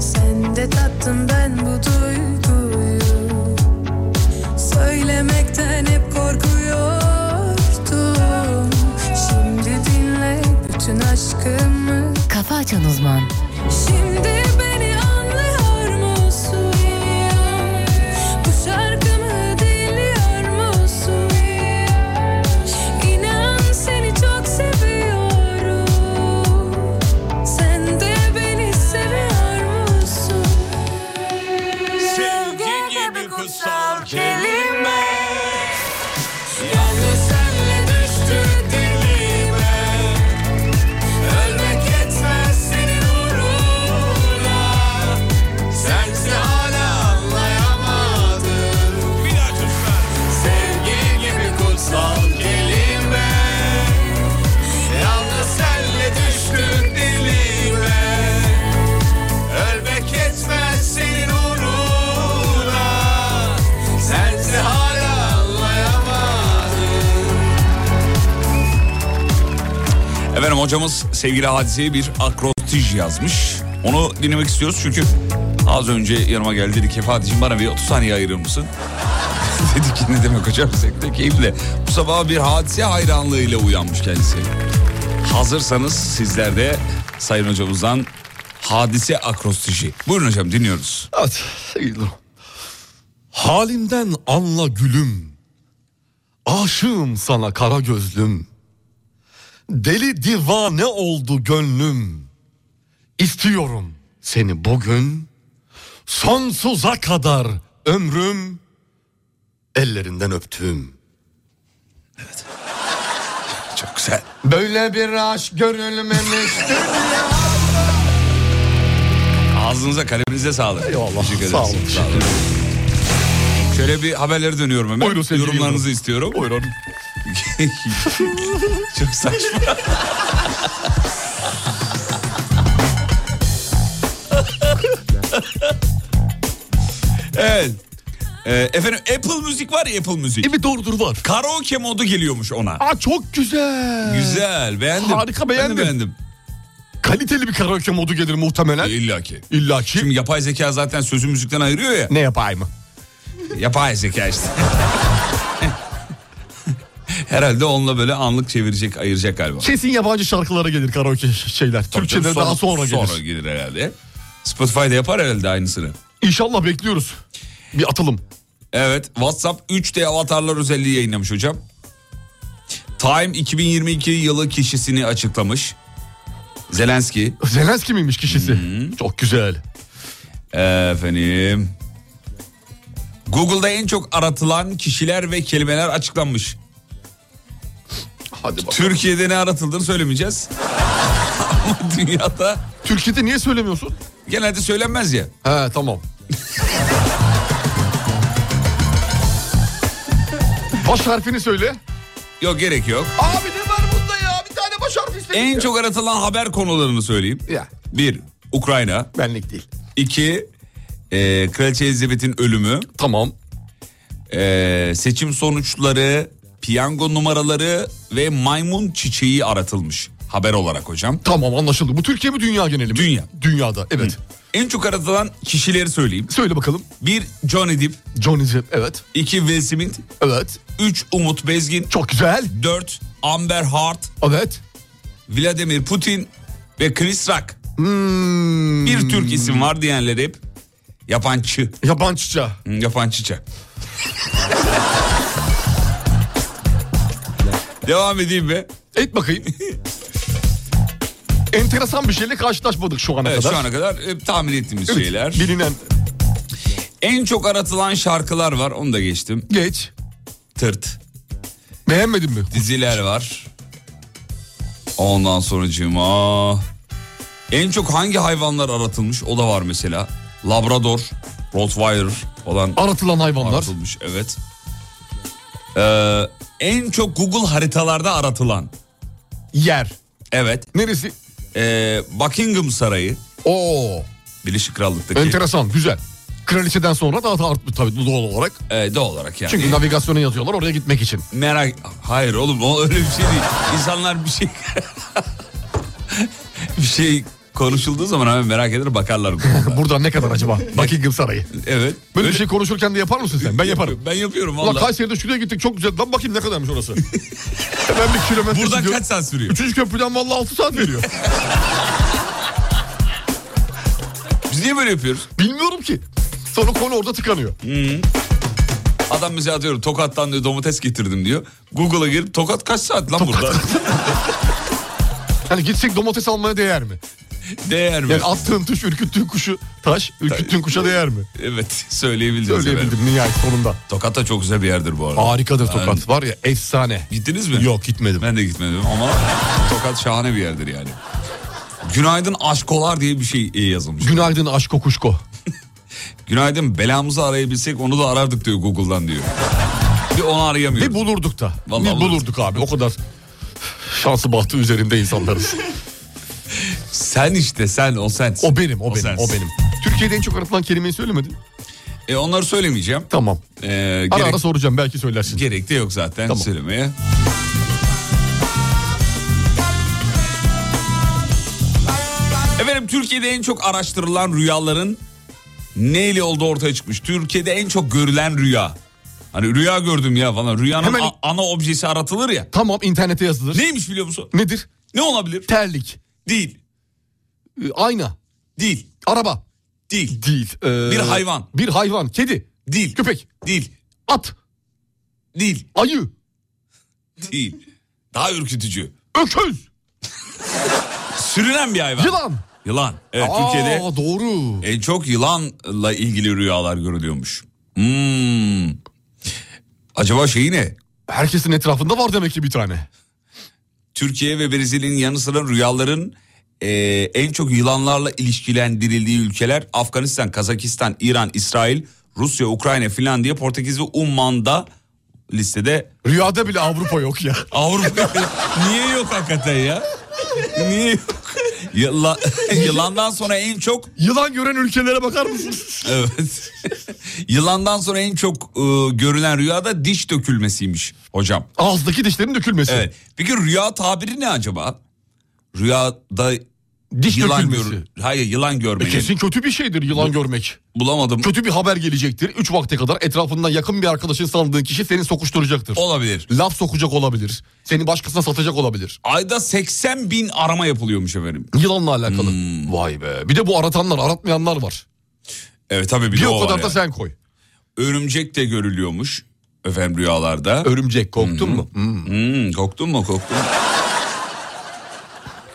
S9: Sandım ben bu duyguyu Söylemekten hep korkuyordum Şimdi dinle bütün aşkımı
S6: Kafa Açan Uzman.
S9: Şimdi beni anlıyor musun? Bu şarkımı dinliyor musun? İnan seni çok seviyorum. Sen de beni seviyor musun?
S5: Sevgi gibi kutsal kelime
S9: Yalnız senle düştü dilime.
S5: Ölmek yetmez senin uğruna Sense hala anlayamadın Bir daha çocuklar Sevgi gibi kutsal kelime Yalnız senle düştün dilime Ölmek yetmez senin uğruna Sense hala anlayamadın
S3: Efendim hocamız sevgili hadiseye bir akrotij yazmış. Onu dinlemek istiyoruz çünkü az önce yanıma geldi dedi ki Fatih'im bana bir 30 saniye ayırır mısın? dedi ki ne demek hocam zevkle keyifle. Bu sabah bir hadise hayranlığıyla uyanmış kendisi. Hazırsanız sizler de sayın hocamızdan hadise akrostiji. Buyurun hocam dinliyoruz.
S4: Evet sevgili Durum. Halimden anla gülüm. Aşığım sana kara gözlüm. Deli divane oldu gönlüm. İstiyorum seni bugün. Sonsuza kadar ömrüm. Ellerinden öptüm.
S3: Çok güzel.
S4: Böyle bir aşk görülmemiştir.
S3: Ağzınıza kaleminize sağlık.
S4: Eyvallah.
S3: Teşekkür
S4: Sağ
S3: ederiz.
S4: olun.
S3: Sağ olun. Şöyle bir haberlere dönüyorum hemen.
S4: Buyurun sevgili
S3: Yorumlarınızı
S4: Yıldırım.
S3: istiyorum.
S4: Buyurun.
S3: <laughs> Çok saçma. <laughs> evet. Ee, efendim Apple Müzik var ya Apple Müzik.
S4: Evet doğrudur var.
S3: Karaoke modu geliyormuş ona.
S4: Aa çok güzel.
S3: Güzel beğendim.
S4: Harika, beğendim.
S3: Ben de beğendim.
S4: Kaliteli bir karaoke modu gelir muhtemelen.
S3: İlla ki.
S4: İlla ki.
S3: Şimdi yapay zeka zaten sözü müzikten ayırıyor ya.
S4: Ne yapayım mı?
S3: Yapay zeka işte. <laughs> Herhalde onunla böyle anlık çevirecek, ayıracak galiba.
S4: Kesin yabancı şarkılara gelir karaoke şeyler. Türkçeler
S3: Tabii
S4: daha sonra gelir.
S3: Sonra gelir herhalde. Spotify'da yapar herhalde aynısını.
S4: İnşallah bekliyoruz. Bir atalım.
S3: Evet WhatsApp 3D avatarlar özelliği yayınlamış hocam. Time 2022 yılı kişisini açıklamış. Zelenski
S4: Zelenski miymiş kişisi? Çok güzel.
S3: efendim. Google'da en çok aratılan kişiler ve kelimeler açıklanmış.
S4: Hadi bakalım.
S3: Türkiye'de ne aratıldığını söylemeyeceğiz. <laughs> Ama dünyada
S4: Türkiye'de niye söylemiyorsun?
S3: genelde söylenmez ya.
S4: He <laughs> tamam. baş harfini söyle.
S3: Yok gerek yok.
S4: Abi ne var bunda ya? Bir tane baş harfi istedim.
S3: En
S4: ya.
S3: çok aratılan haber konularını söyleyeyim.
S4: Ya.
S3: Bir, Ukrayna.
S4: Benlik değil.
S3: İki, e, Kraliçe Elizabeth'in ölümü.
S4: Tamam.
S3: Ee, seçim sonuçları, piyango numaraları ve maymun çiçeği aratılmış haber olarak hocam.
S4: Tamam anlaşıldı. Bu Türkiye mi dünya geneli mi?
S3: Dünya.
S4: Dünyada evet.
S3: En çok aratılan kişileri söyleyeyim.
S4: Söyle bakalım.
S3: Bir Johnny Depp,
S4: Johnny Depp evet.
S3: iki Will Smith,
S4: Evet.
S3: üç Umut Bezgin,
S4: Çok güzel.
S3: dört Amber Hart,
S4: Evet.
S3: Vladimir Putin ve Chris Rock.
S4: Hmm.
S3: Bir Türk isim var diyenler hep yapançı,
S4: Yabancıca.
S3: Hı, yapançıça. Devam edeyim mi?
S4: Et bakayım. <laughs> Enteresan bir şeyle karşılaşmadık şu ana
S3: Evet,
S4: kadar.
S3: şu ana kadar e, tahmin ettiğimiz
S4: Evet,
S3: şeyler.
S4: Bilinen
S3: En çok aratılan şarkılar var. Onu da geçtim.
S4: geç.
S3: Tırt.
S4: Beğenmedin mi?
S3: Diziler var. Ondan sonucuma. En çok hangi hayvanlar aratılmış? O da var mesela. Labrador, Rottweiler falan
S4: Aratılan hayvanlar.
S3: aratılmış. Evet. Ee, en çok Google haritalarda aratılan.
S4: Yer.
S3: Evet.
S4: Neresi?
S3: Ee, Buckingham Sarayı.
S4: Oo.
S3: Birleşik Krallık'taki.
S4: Enteresan. Güzel. Kraliçeden sonra daha da artmış tabii doğal olarak.
S3: Ee, doğal olarak yani.
S4: Çünkü navigasyona yazıyorlar oraya gitmek için. <laughs>
S3: Merak... Hayır oğlum o öyle <laughs> bir şey değil. İnsanlar bir şey... bir şey Konuşulduğu zaman hemen merak eder
S4: <laughs>
S3: bakarlar. Google'da.
S4: Buradan ne kadar
S3: <laughs>
S4: acaba? Buckingham Sarayı.
S3: evet.
S4: Böyle bir şey konuşurken de yapar mısın sen? Ben yaparım.
S3: Ben yapıyorum
S4: Ulan
S3: valla.
S4: Kayseri'de şuraya gittik çok güzel. Lan bakayım ne kadarmış orası. <laughs> Hemen bir kilometre
S3: Buradan
S4: gidiyor.
S3: kaç saat sürüyor?
S4: Üçüncü köprüden vallahi 6 saat veriyor.
S3: <laughs> Biz niye böyle yapıyoruz?
S4: Bilmiyorum ki. Sonra konu orada tıkanıyor.
S3: Adam mesela atıyorum Tokat'tan diyor domates getirdim diyor. Google'a girip Tokat kaç saat lan burada?
S4: Hani gitsek domates almaya değer mi?
S3: <laughs> Değer mi?
S4: Yani attığın tuş ürküttüğün kuşu taş ürküttüğün kuşa değer mi?
S3: Evet <laughs> söyleyebildim.
S4: Söyleyebildim nihayet sonunda.
S3: Tokat da çok güzel bir yerdir bu arada.
S4: Harikadır Tokat. Var ya efsane.
S3: Gittiniz mi?
S4: Yok gitmedim.
S3: Ben de gitmedim ama Tokat şahane bir yerdir yani. Günaydın aşkolar diye bir şey e, yazılmış.
S4: Günaydın aşko kuşko.
S3: Günaydın belamızı arayabilsek onu da arardık diyor Google'dan diyor. Bir onu arayamıyoruz.
S4: Bir bulurduk da.
S3: Vallahi
S4: bir
S3: bulurduk.
S4: bulurduk abi o kadar şansı bahtı üzerinde
S3: <laughs>
S4: insanlarız.
S3: Sen işte sen o sensin.
S4: O benim o, benim
S3: sensin.
S4: o benim. Türkiye'de en çok aratılan kelimeyi söylemedin.
S3: E, onları söylemeyeceğim.
S4: Tamam.
S3: E,
S4: Ara
S3: gerek,
S4: ara soracağım belki söylersin.
S3: gerek de yok zaten
S4: Tamam.
S3: söylemeye. Efendim Türkiye'de en çok araştırılan rüyaların neyle olduğu ortaya çıkmış. Türkiye'de en çok görülen rüya. Hani rüya gördüm ya falan. Rüyanın
S4: Hemen-
S3: a- ana objesi aratılır ya.
S4: Tamam internete yazılır.
S3: Neymiş biliyor musun?
S4: Nedir?
S3: Ne olabilir?
S4: Terlik,
S3: Değil.
S4: e, ayna,
S3: Değil.
S4: araba.
S3: Değil.
S4: Değil. e,
S3: Bir hayvan.
S4: Bir hayvan. Kedi,
S3: Değil.
S4: köpek,
S3: Değil.
S4: at,
S3: Değil.
S4: ayı,
S3: Değil. Daha ürkütücü.
S4: öküz,
S3: Sürünen bir hayvan.
S4: yılan.
S3: Yılan. Evet
S4: Aa,
S3: Türkiye'de
S4: doğru.
S3: en E, çok yılanla ilgili rüyalar görülüyormuş. Hmm. Acaba şeyi ne?
S4: Herkesin etrafında var demek ki bir tane.
S3: Türkiye ve Brezilya'nın yanı sıra rüyaların e, en çok yılanlarla ilişkilendirildiği ülkeler Afganistan, Kazakistan, İran, İsrail, Rusya, Ukrayna, Finlandiya, Portekiz ve Umman'da listede
S4: Rüyada bile Avrupa yok ya.
S3: Avrupa <laughs> niye yok hakikaten ya? Niye yok? Yıla- <laughs> yılandan sonra en çok
S4: <laughs> Yılan gören ülkelere bakar mısınız?
S3: evet. <laughs> Yılandan sonra en çok e, görülen rüyada diş dökülmesiymiş hocam.
S4: Ağızdaki dişlerin dökülmesi.
S3: Evet. Peki rüya tabiri ne acaba? Rüyada
S4: Diş
S3: yılan
S4: dökülmesi.
S3: gör Hayır yılan
S4: E
S3: görmeyi.
S4: kesin kötü bir şeydir yılan görmek.
S3: Bulamadım.
S4: Kötü bir haber gelecektir. Üç vakte kadar etrafından yakın bir arkadaşın sandığın kişi seni sokuşturacaktır.
S3: Olabilir.
S4: Laf sokacak olabilir. Seni başkasına satacak olabilir.
S3: Ayda 80 bin arama yapılıyormuş efendim.
S4: Yılanla alakalı. Vay be. Bir de bu aratanlar, aratmayanlar var.
S3: Evet tabii bir,
S4: Bir
S3: de
S4: o
S3: o
S4: kadar
S3: var
S4: da
S3: yani.
S4: sen koy.
S3: Örümcek de görülüyormuş efendim rüyalarda.
S4: Örümcek korktun mu?
S3: Hmm, korktun mu korktun? mu?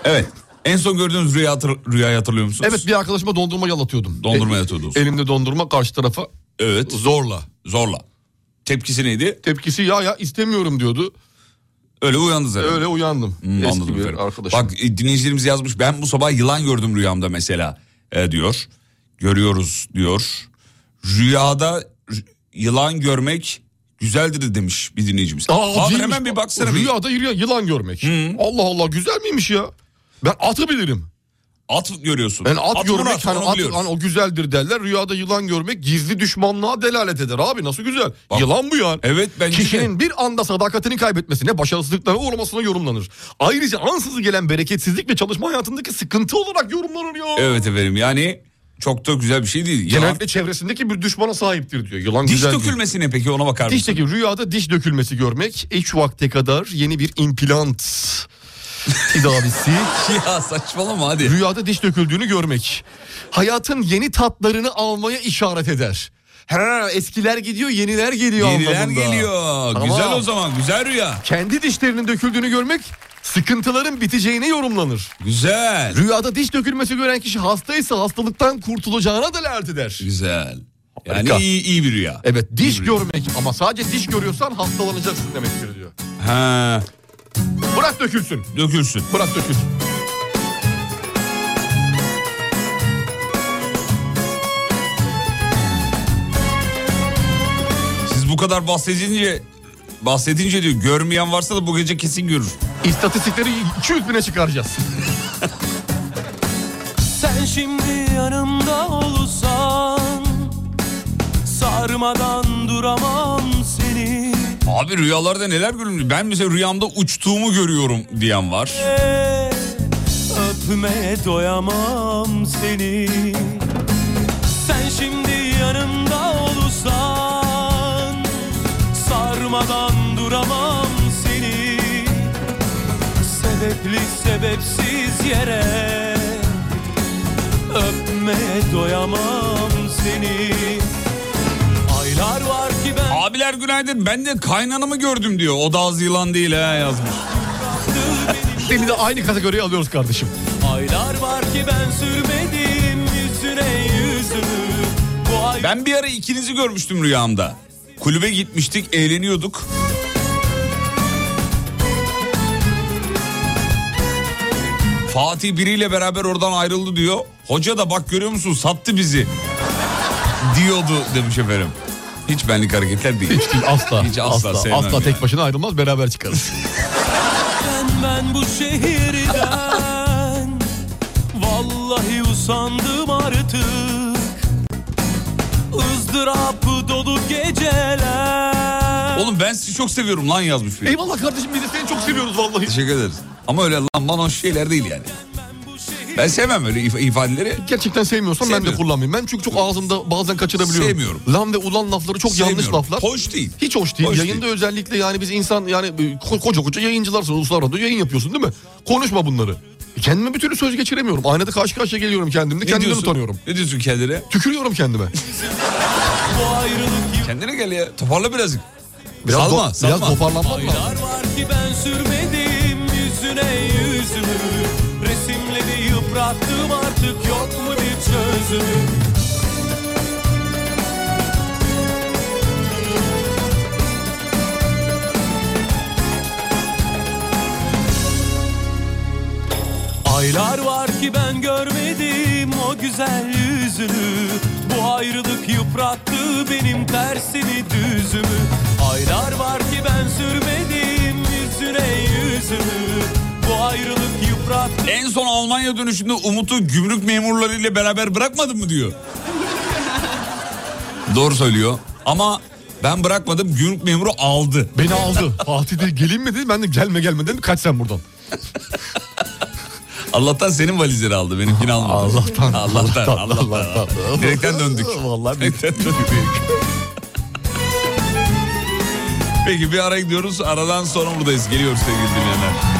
S3: evet. En son gördüğünüz rüya hatır, rüyayı hatırlıyor musunuz?
S4: Evet bir arkadaşıma dondurma yalatıyordum.
S3: Dondurma
S4: E-
S3: yalatıyordunuz.
S4: Elimde dondurma karşı tarafa
S3: Evet.
S4: zorla.
S3: Zorla. Tepkisi neydi?
S4: Tepkisi ya ya istemiyorum diyordu.
S3: Öyle uyandı zaten.
S4: Öyle uyandım.
S3: Hmm,
S4: Eski
S3: anladım
S4: bir
S3: efendim.
S4: arkadaşım.
S3: Bak e, dinleyicilerimiz yazmış ben bu sabah yılan gördüm rüyamda mesela e, diyor. Görüyoruz diyor. Rüyada r- yılan görmek güzeldir demiş bir dinleyicimiz.
S4: Aa,
S3: Abi
S4: değilmiş.
S3: hemen bir baksana bir.
S4: Rüyada yürüyen yılan görmek. Allah Allah güzel miymiş ya? Ben atı bilirim.
S3: At görüyorsun.
S4: Ben at,
S3: mı
S4: görmek
S3: at?
S4: hani
S3: Onu
S4: at-
S3: biliyoruz.
S4: hani o güzeldir derler. Rüyada yılan görmek gizli düşmanlığa delalet eder abi nasıl güzel. Yılan bu yani.
S3: Evet bence de.
S4: Kişinin bir anda sadakatini kaybetmesine, başarısızlıklara uğramasına yorumlanır. Ayrıca ansızı gelen bereketsizlik ve çalışma hayatındaki sıkıntı olarak yorumlanır ya.
S3: Evet efendim yani çok da güzel bir şey değil. Yılan-
S4: Genellikle çevresindeki bir düşmana sahiptir diyor. Yılan
S3: Diş
S4: güzel değil.
S3: dökülmesi ne peki ona bakar mısın?
S4: Dişteki rüyada diş dökülmesi görmek, eş vakte kadar yeni bir
S3: <laughs>
S4: implant tedavisi.
S3: ya saçmalama hadi.
S4: Rüyada diş döküldüğünü görmek. Hayatın yeni tatlarını almaya işaret eder. Ha, eskiler gidiyor yeniler geliyor
S3: Yeniler
S4: anlamında.
S3: geliyor.
S4: Tamam.
S3: Güzel o zaman güzel rüya.
S4: Kendi dişlerinin döküldüğünü görmek sıkıntıların biteceğine yorumlanır.
S3: Güzel.
S4: Rüyada diş dökülmesi gören kişi hastaysa hastalıktan kurtulacağına delalet eder.
S3: Güzel. Yani
S4: Harika.
S3: iyi, iyi bir rüya.
S4: Evet diş
S3: Bir-
S4: görmek ama sadece diş görüyorsan hastalanacaksın demektir diyor.
S3: Ha,
S4: Bırak dökülsün.
S3: dökülsün.
S4: Bırak dökülsün.
S3: Siz bu kadar bahsedince bahsedince diyor görmeyen varsa da bu gece kesin görür.
S4: İstatistikleri 200 bine çıkaracağız.
S2: Sen şimdi yanımda olsan Sarmadan duramam seni
S3: Abi rüyalarda neler görülmüş? Ben mesela rüyamda uçtuğumu görüyorum diyen var.
S2: Öp
S10: Öpmeye doyamam seni Sen şimdi yanımda olursan Sarmadan duramam seni Sebepli sebepsiz yere Öpmeye doyamam seni Aylar var ki ben
S3: Abiler günaydın ben de kaynanamı gördüm diyor. O da az yılan değil ha yazmış.
S4: Seni de aynı kategoriye alıyoruz kardeşim.
S10: Aylar var ki ben sürmedim yüzüne yüzümü Bu ay
S3: Ben bir ara ikinizi görmüştüm rüyamda. Kulübe gitmiştik, eğleniyorduk. Fatih biriyle beraber oradan ayrıldı diyor. Hoca da bak görüyor musun sattı bizi diyordu demiş efendim. Hiç benlik
S4: <laughs>
S3: hareketler değil.
S4: Hiç değil, asla.
S3: <laughs> Hiç asla
S4: asla asla,
S3: sevmem yani.
S4: tek başına ayrılmaz beraber
S3: <laughs>
S4: çıkarız.
S10: ben, ben bu şehirden Vallahi usandım artık ızdırap dolu geceler
S3: Oğlum ben sizi çok seviyorum lan yazmış biri.
S4: Eyvallah kardeşim biz de seni çok seviyoruz vallahi.
S3: Teşekkür ederiz. Ama öyle lan bana hoş şeyler değil yani. Ben sevmem öyle if- ifadeleri.
S4: Gerçekten sevmiyorsan ben de
S3: Sevmiyorum.
S4: kullanmayayım. Ben çünkü çok ağzımda bazen kaçırabiliyorum.
S3: Sevmiyorum.
S4: Lan ve ulan lafları çok yanlış
S3: Sevmiyorum.
S4: laflar.
S3: Hoş değil.
S4: Hiç hoş değil.
S3: Hoş
S4: Yayında
S3: değil.
S4: özellikle yani biz insan yani ko- koca koca yayıncılarsın. Uluslar Radyo yayın yapıyorsun değil mi? Konuşma bunları. E Kendime bir türlü söz geçiremiyorum. Aynada karşı karşıya geliyorum kendimle.
S3: Ne
S4: Kendimden
S3: diyorsun?
S4: utanıyorum.
S3: Ne diyorsun kendine?
S4: Tükürüyorum
S3: <laughs>
S4: kendime.
S10: Bu ayrılık
S3: Kendine gel ya. Toparla birazcık.
S4: Biraz,
S3: salma,
S4: do-
S3: salma.
S4: biraz toparlanmam lazım.
S10: Yar var ki ben sürmedim yüzüne yüzümü Resimleri yıprattım artık yok mu bir çözümü Aylar var ki ben görmedim o güzel yüzünü Bu ayrılık yıprattı benim tersini düzümü Aylar var ki ben sürmedim yüzüne yüzümü Bu ayrılık yıprattı
S3: En son Almanya dönüşünde Umut'u gümrük memurlarıyla beraber bırakmadın mı diyor. Doğru söylüyor. Ama ben bırakmadım gümrük memuru aldı.
S4: Beni aldı. Fatih dedi geleyim mi dedi. Ben de gelme gelme dedim. Kaç sen buradan.
S3: Allah'tan senin valizleri aldı benimkini almadı.
S4: Allah'tan,
S3: Allah'tan.
S4: Allah'tan,
S3: Allah'tan.
S4: Allah'tan.
S3: Direkten döndük.
S4: <laughs> Vallahi
S3: Direkten döndük. <laughs> Peki bir ara gidiyoruz. Aradan sonra buradayız. Geliyoruz sevgili dinleyenler.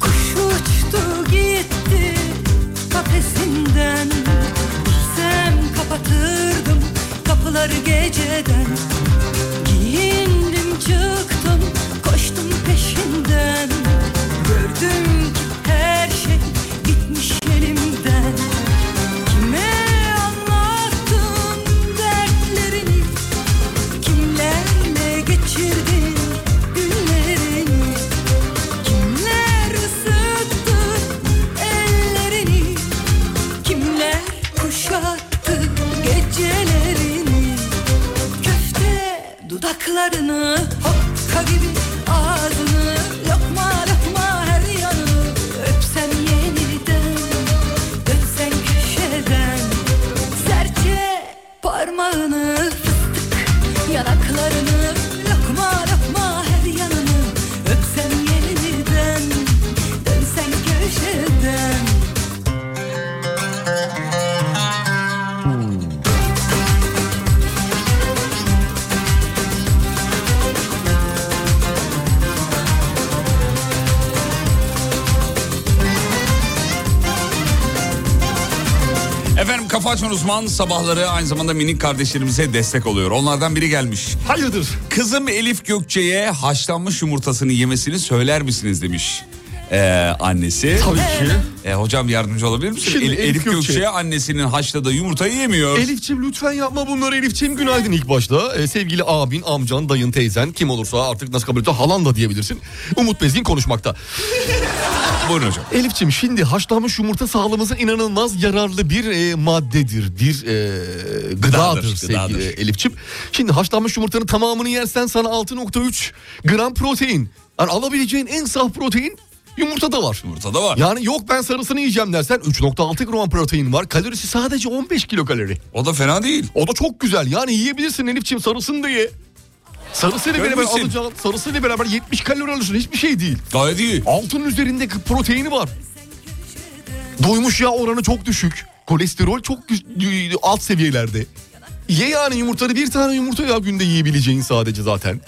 S9: Kuş uçtu gitti kafesinden Bilsem kapatırdım kapıları geceden Giyindim çıktım koştum peşinden Gördüm ki her şey gitmiş elimden Kime anlattım dertlerini Kimlerle geçirdin günlerini Kimler ısıttı ellerini Kimler kuşattı gecelerini Köfte dudaklarını Hokka gibi ağzını Lokma lokma her yanını Öpsem yeniden Dönsen köşeden Serçe parmağını Fıstık yanaklarını Lokma lokma her yanını Öpsem yeniden Dönsen köşeden
S3: Efendim Kafa Açan Uzman sabahları aynı zamanda minik kardeşlerimize destek oluyor. Onlardan biri gelmiş.
S4: Hayırdır?
S3: Kızım Elif Gökçe'ye haşlanmış yumurtasını yemesini söyler misiniz demiş. e, annesi.
S4: Tabii ki.
S3: E, hocam yardımcı olabilir misin?
S4: Şimdi
S3: El-
S4: Elif
S3: Elif
S4: Gökçe.
S3: Gökçe annesinin haşlada yumurtayı yemiyor.
S4: Elifçim lütfen yapma bunları Elifçim günaydın ilk başta. Ee, sevgili abin, amcan, dayın, teyzen kim olursa artık nasıl kabul ediyorsa halan da diyebilirsin. Umut Bezgin konuşmakta.
S3: Buyurun hocam.
S4: Elifçim şimdi haşlanmış yumurta sağlığımıza inanılmaz yararlı bir e, maddedir. Bir e, gıdadır,
S3: Gıdadır,
S4: sevgili
S3: gıdadır.
S4: Elifçim. Şimdi haşlanmış yumurtanın tamamını yersen sana 6.3 gram protein. Yani alabileceğin en saf protein yumurtada var.
S3: Yumurtada var.
S4: <laughs> Yani yok ben sarısını yiyeceğim dersen 3.6 gram protein var. Kalorisi sadece 15 kilokalori.
S3: O da fena değil.
S4: O da çok güzel. Yani yiyebilirsin Elifçim sarısını da ye. Sarısıyla beraber
S3: Görmüşsün.
S4: alacağın, sarısıyla beraber 70 kalori alırsın. Hiçbir şey değil.
S3: Gayet iyi.
S4: Altının üzerinde proteini var. Doymuş yağ oranı çok düşük. Kolesterol çok güç- alt seviyelerde. Ye yani yumurtanı bir tane yumurta ya günde yiyebileceğin sadece zaten.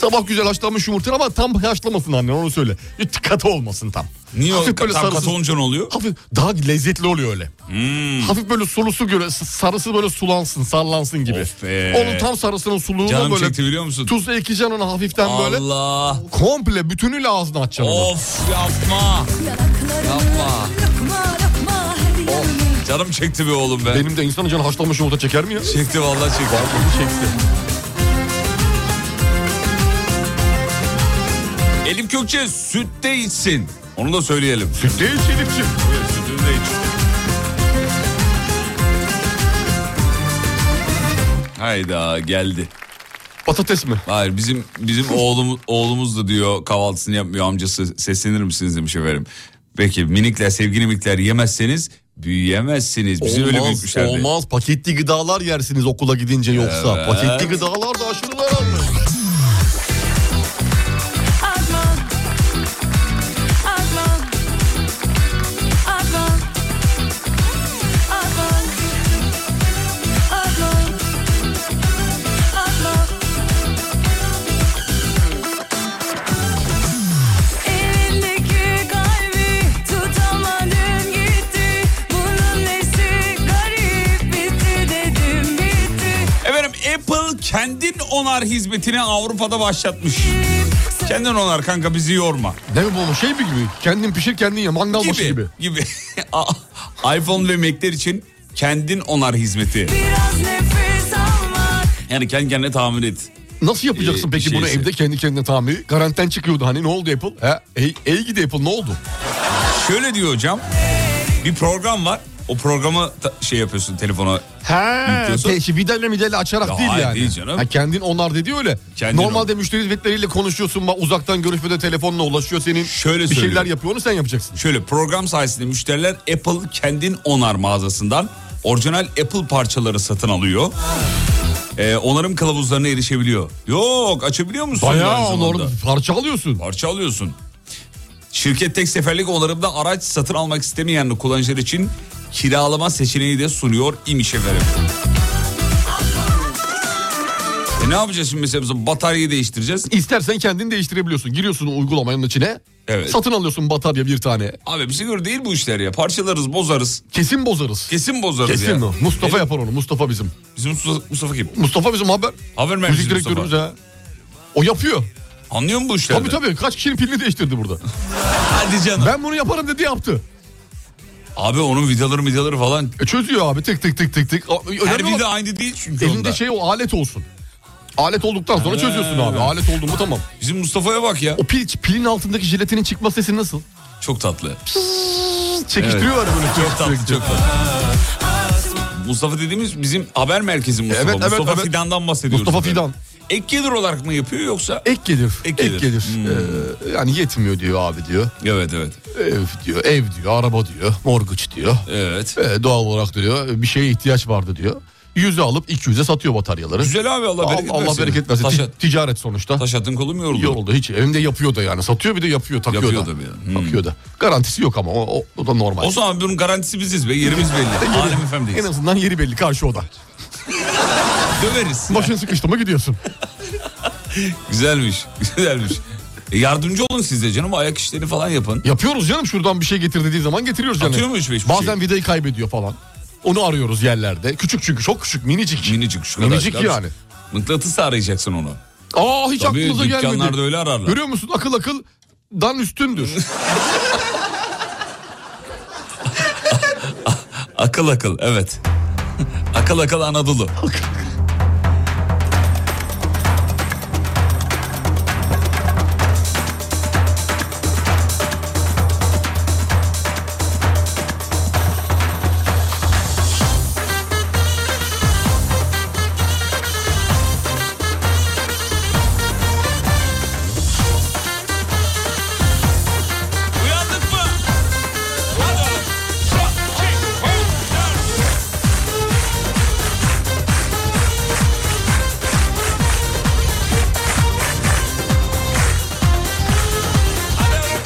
S4: Sabah güzel haşlanmış yumurta ama tam haşlamasın anne onu söyle. Katı olmasın tam.
S3: Niye o
S4: Hafif
S3: tam
S4: böyle
S3: katı
S4: sarısı-
S3: olunca ne oluyor?
S4: Hafif daha lezzetli oluyor öyle.
S3: Hmm.
S4: Hafif böyle sulusu göre sarısı böyle sulansın, sallansın gibi.
S3: Of be.
S4: Onun tam sarısının suluğuna
S3: Canım
S4: böyle
S3: çekti biliyor musun?
S4: tuz ekeceksin ona hafiften böyle.
S3: Allah.
S4: Komple bütünüyle ağzına atacaksın. onu.
S3: Of yapma. Yapma. Canım çekti be oğlum be.
S4: Benim de insanın canı haşlanmış yumurta çeker mi ya?
S3: Çekti vallahi çekti.
S4: Çekti.
S3: Elif Kökçe sütte içsin. Onu da söyleyelim.
S4: Süt değil Şerifciğim.
S3: Evet, sütünü de iç. Hayda geldi.
S4: Patates mi?
S3: Hayır bizim bizim oğlum oğlumuz da diyor kahvaltısını yapmıyor amcası seslenir misiniz demiş efendim. Peki minikler sevgili minikler yemezseniz büyüyemezsiniz. Bizi öyle
S4: Olmaz,
S3: büyütmüşlerdi.
S4: olmaz. Paketli gıdalar yersiniz okula gidince yoksa.
S3: Evet.
S4: Paketli gıdalar da aşırı zararlı.
S9: Elindeki kalbi tutamadım gitti Bunun nesi garip bitti dedim bitti
S3: Efendim Apple kendin onar hizmetini Avrupa'da başlatmış. Kendin onar kanka bizi yorma.
S4: Ne mi bu oğlum, şey mi gibi? Kendin pişir kendin ye mangal başı
S3: Gibi.
S4: gibi.
S3: Gibi. <laughs> A- iPhone ve Mac'ler için kendin onar hizmeti.
S9: Biraz nefes almak
S3: Yani kendi kendine tamir et.
S4: Nasıl yapacaksın
S3: Ee,
S4: peki
S3: bir
S4: bunu
S3: şeyse.
S4: evde kendi kendine tamiri? Garantiden çıkıyordu hani ne oldu Apple? He, ey, ey gidi Apple ne oldu?
S3: Şöyle diyor hocam. Bir program var. O programı ta- şey yapıyorsun telefona
S4: He,
S3: Yüklüyorsun.
S4: peşi vidayla midayla şey, açarak
S3: Ya
S4: değil
S3: hayır,
S4: yani.
S3: değil canım.
S4: Ha, kendin onlar dedi öyle.
S3: Kendin
S4: Normalde müşteri hizmetleriyle konuşuyorsun ma- uzaktan görüşmede telefonla ulaşıyor senin.
S3: Şöyle
S4: bir
S3: söylüyorum.
S4: şeyler yapıyor onu sen yapacaksın.
S3: Şöyle program sayesinde müşteriler Apple kendin onar mağazasından orijinal Apple parçaları satın alıyor. Ee, onarım kılavuzlarına erişebiliyor. Yok açabiliyor musun? aynı
S4: Bayağı
S3: zamanda?
S4: onları parça alıyorsun.
S3: Parça alıyorsun. Şirket tek seferlik onarımda araç satın almak istemeyen kullanıcılar için kiralama seçeneği de sunuyor imiş efendim. E ne yapacağız şimdi mesela biz bataryayı değiştireceğiz.
S4: İstersen kendin değiştirebiliyorsun. Giriyorsun uygulamanın içine.
S3: Evet.
S4: Satın alıyorsun batarya bir tane.
S3: Abi bize göre değil bu işler ya. Parçalarız, bozarız.
S4: Kesin bozarız.
S3: Kesin bozarız ya.
S4: Kesin o. Mustafa yapar onu. Mustafa bizim.
S3: Bizim Mustafa, Mustafa kim?
S4: Mustafa bizim haber.
S3: Haber vermiş
S4: Müzik
S3: Mustafa.
S4: direktörümüz ha. O yapıyor.
S3: Anlıyor musun bu işlerde?
S4: Tabii tabii. Kaç kişinin pilini değiştirdi
S3: <laughs>
S4: burada.
S3: Hadi canım.
S4: Ben bunu yaparım dedi yaptı.
S3: Abi onun vidaları vidaları falan.
S4: E çözüyor abi tık tık tık tık tık. O- Önemli
S3: Her
S4: olan-
S3: vida aynı değil çünkü
S4: elinde
S3: onda.
S4: şey o alet olsun. Alet olduktan sonra çözüyorsun abi. Alet oldu mu tamam.
S3: Bizim Mustafa'ya bak ya.
S4: O pil, pilin altındaki jiletinin çıkma sesi nasıl?
S3: Çok tatlı.
S4: Çekiştiriyor abi böyle.
S3: Çok tatlı, çok tatlı. Mustafa dediğimiz bizim haber merkezi Mustafa.
S4: Evet, evet,
S3: Mustafa
S4: evet.
S3: Fidan'dan bahsediyoruz.
S4: Mustafa
S3: burada.
S4: Fidan.
S3: Ek gelir olarak mı yapıyor yoksa?
S4: Ek gelir.
S3: Ek
S4: Ek
S3: gelir. Hmm.
S4: gelir. Ee, yani yetmiyor diyor abi diyor.
S3: Evet evet.
S4: Ev diyor, ev diyor, araba diyor, mortgage diyor.
S3: Evet.
S4: Ee, doğal olarak diyor bir şeye ihtiyaç vardı diyor. 100'e alıp 200'e satıyor bataryaları.
S3: Güzel abi Allah
S4: Allah
S3: bereket
S4: bereket versin.
S3: versin. Taş,
S4: Ti- ticaret sonuçta.
S3: taş attın kolum yoruldu.
S4: Yoruldu hiç. Evinde yapıyor da yani. Satıyor bir de yapıyor. Takıyor
S3: Yapıyor
S4: da.
S3: tabii yani. Hmm.
S4: Takıyor da. Garantisi yok ama o, o, o da normal.
S3: O zaman bunun garantisi biziz be. Yerimiz
S4: <laughs>
S3: belli. Alem
S4: en
S3: efendiyiz.
S4: azından yeri belli karşı oda.
S3: Döveriz.
S4: Başın sıkıştı mı gidiyorsun.
S3: Güzelmiş. <laughs> Güzelmiş. E yardımcı olun siz de canım. Ayak işlerini falan yapın.
S4: <laughs> Yapıyoruz canım şuradan bir şey getir dediği zaman getiriyoruz yani.
S3: Atıyor mu hiç beş bir
S4: Bazen
S3: şey?
S4: vidayı kaybediyor falan. Onu arıyoruz yerlerde. Küçük çünkü çok küçük minicik.
S3: Minicik şu kadar.
S4: minicik yani.
S3: Mıknatısla arayacaksın onu.
S4: Aa hiç
S3: Tabii
S4: aklınıza
S3: dükkanlarda
S4: gelmedi.
S3: öyle ararlar.
S4: Görüyor musun akıl akıl dan <laughs> üstündür.
S3: Akıl akıl evet. <laughs> akıl akıl Anadolu.
S2: Uyandık mı? Hadi oğlum. Şok, çek, hop, dört. Hadi oğlum.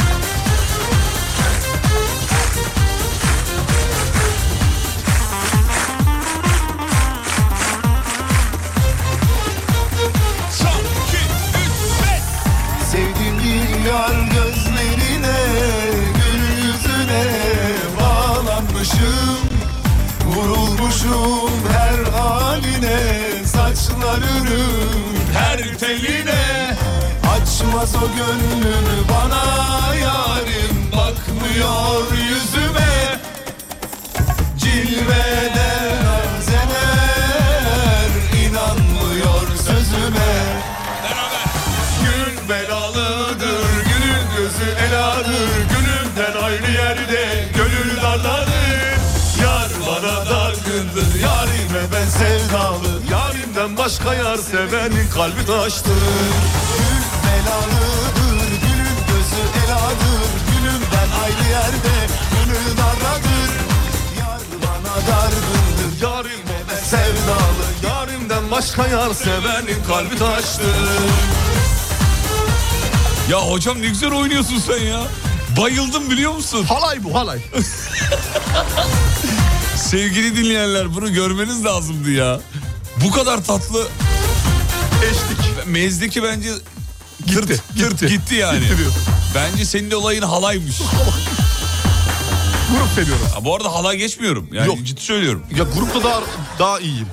S2: Şok, iki, üç, beş.
S5: Sevdim bir yar gözlerine Gül yüzüne bağlanmışım Vurulmuşum her haline Saçlar ürün her teline Açmaz o gönlünü bana yarim Bakmıyor yüzüme Cilveden arzeler inanmıyor sözüme Gül belalıdır, gülün gözü eladır Gülümden ayrı yerde, gönül darladır Yar bana dargındır, yarime ben sevdalı Yarimden başka yar sevenin kalbi taştır Gül belalıdır, gülün gözü eladır Gülümden ayrı yerde, gönül darladır Yar bana dargındır, yarime ben sevdalı Yarimden başka yar sevenin kalbi taştır
S3: Ya hocam ne güzel oynuyorsun sen ya. Bayıldım biliyor musun?
S4: halay bu halay.
S3: Sevgili dinleyenler bunu görmeniz lazımdı ya. Bu kadar tatlı eşlik. Mezdeki bence gitti. Tırt, gitti. gitti yani.
S4: Gitti diyor.
S3: Bence senin de olayın halaymış.
S4: Grup veriyorum.
S3: Ha, Bu arada halay geçmiyorum. Yani
S4: Yok.
S3: ciddi söylüyorum.
S4: Ya grupta daha, daha iyiyim.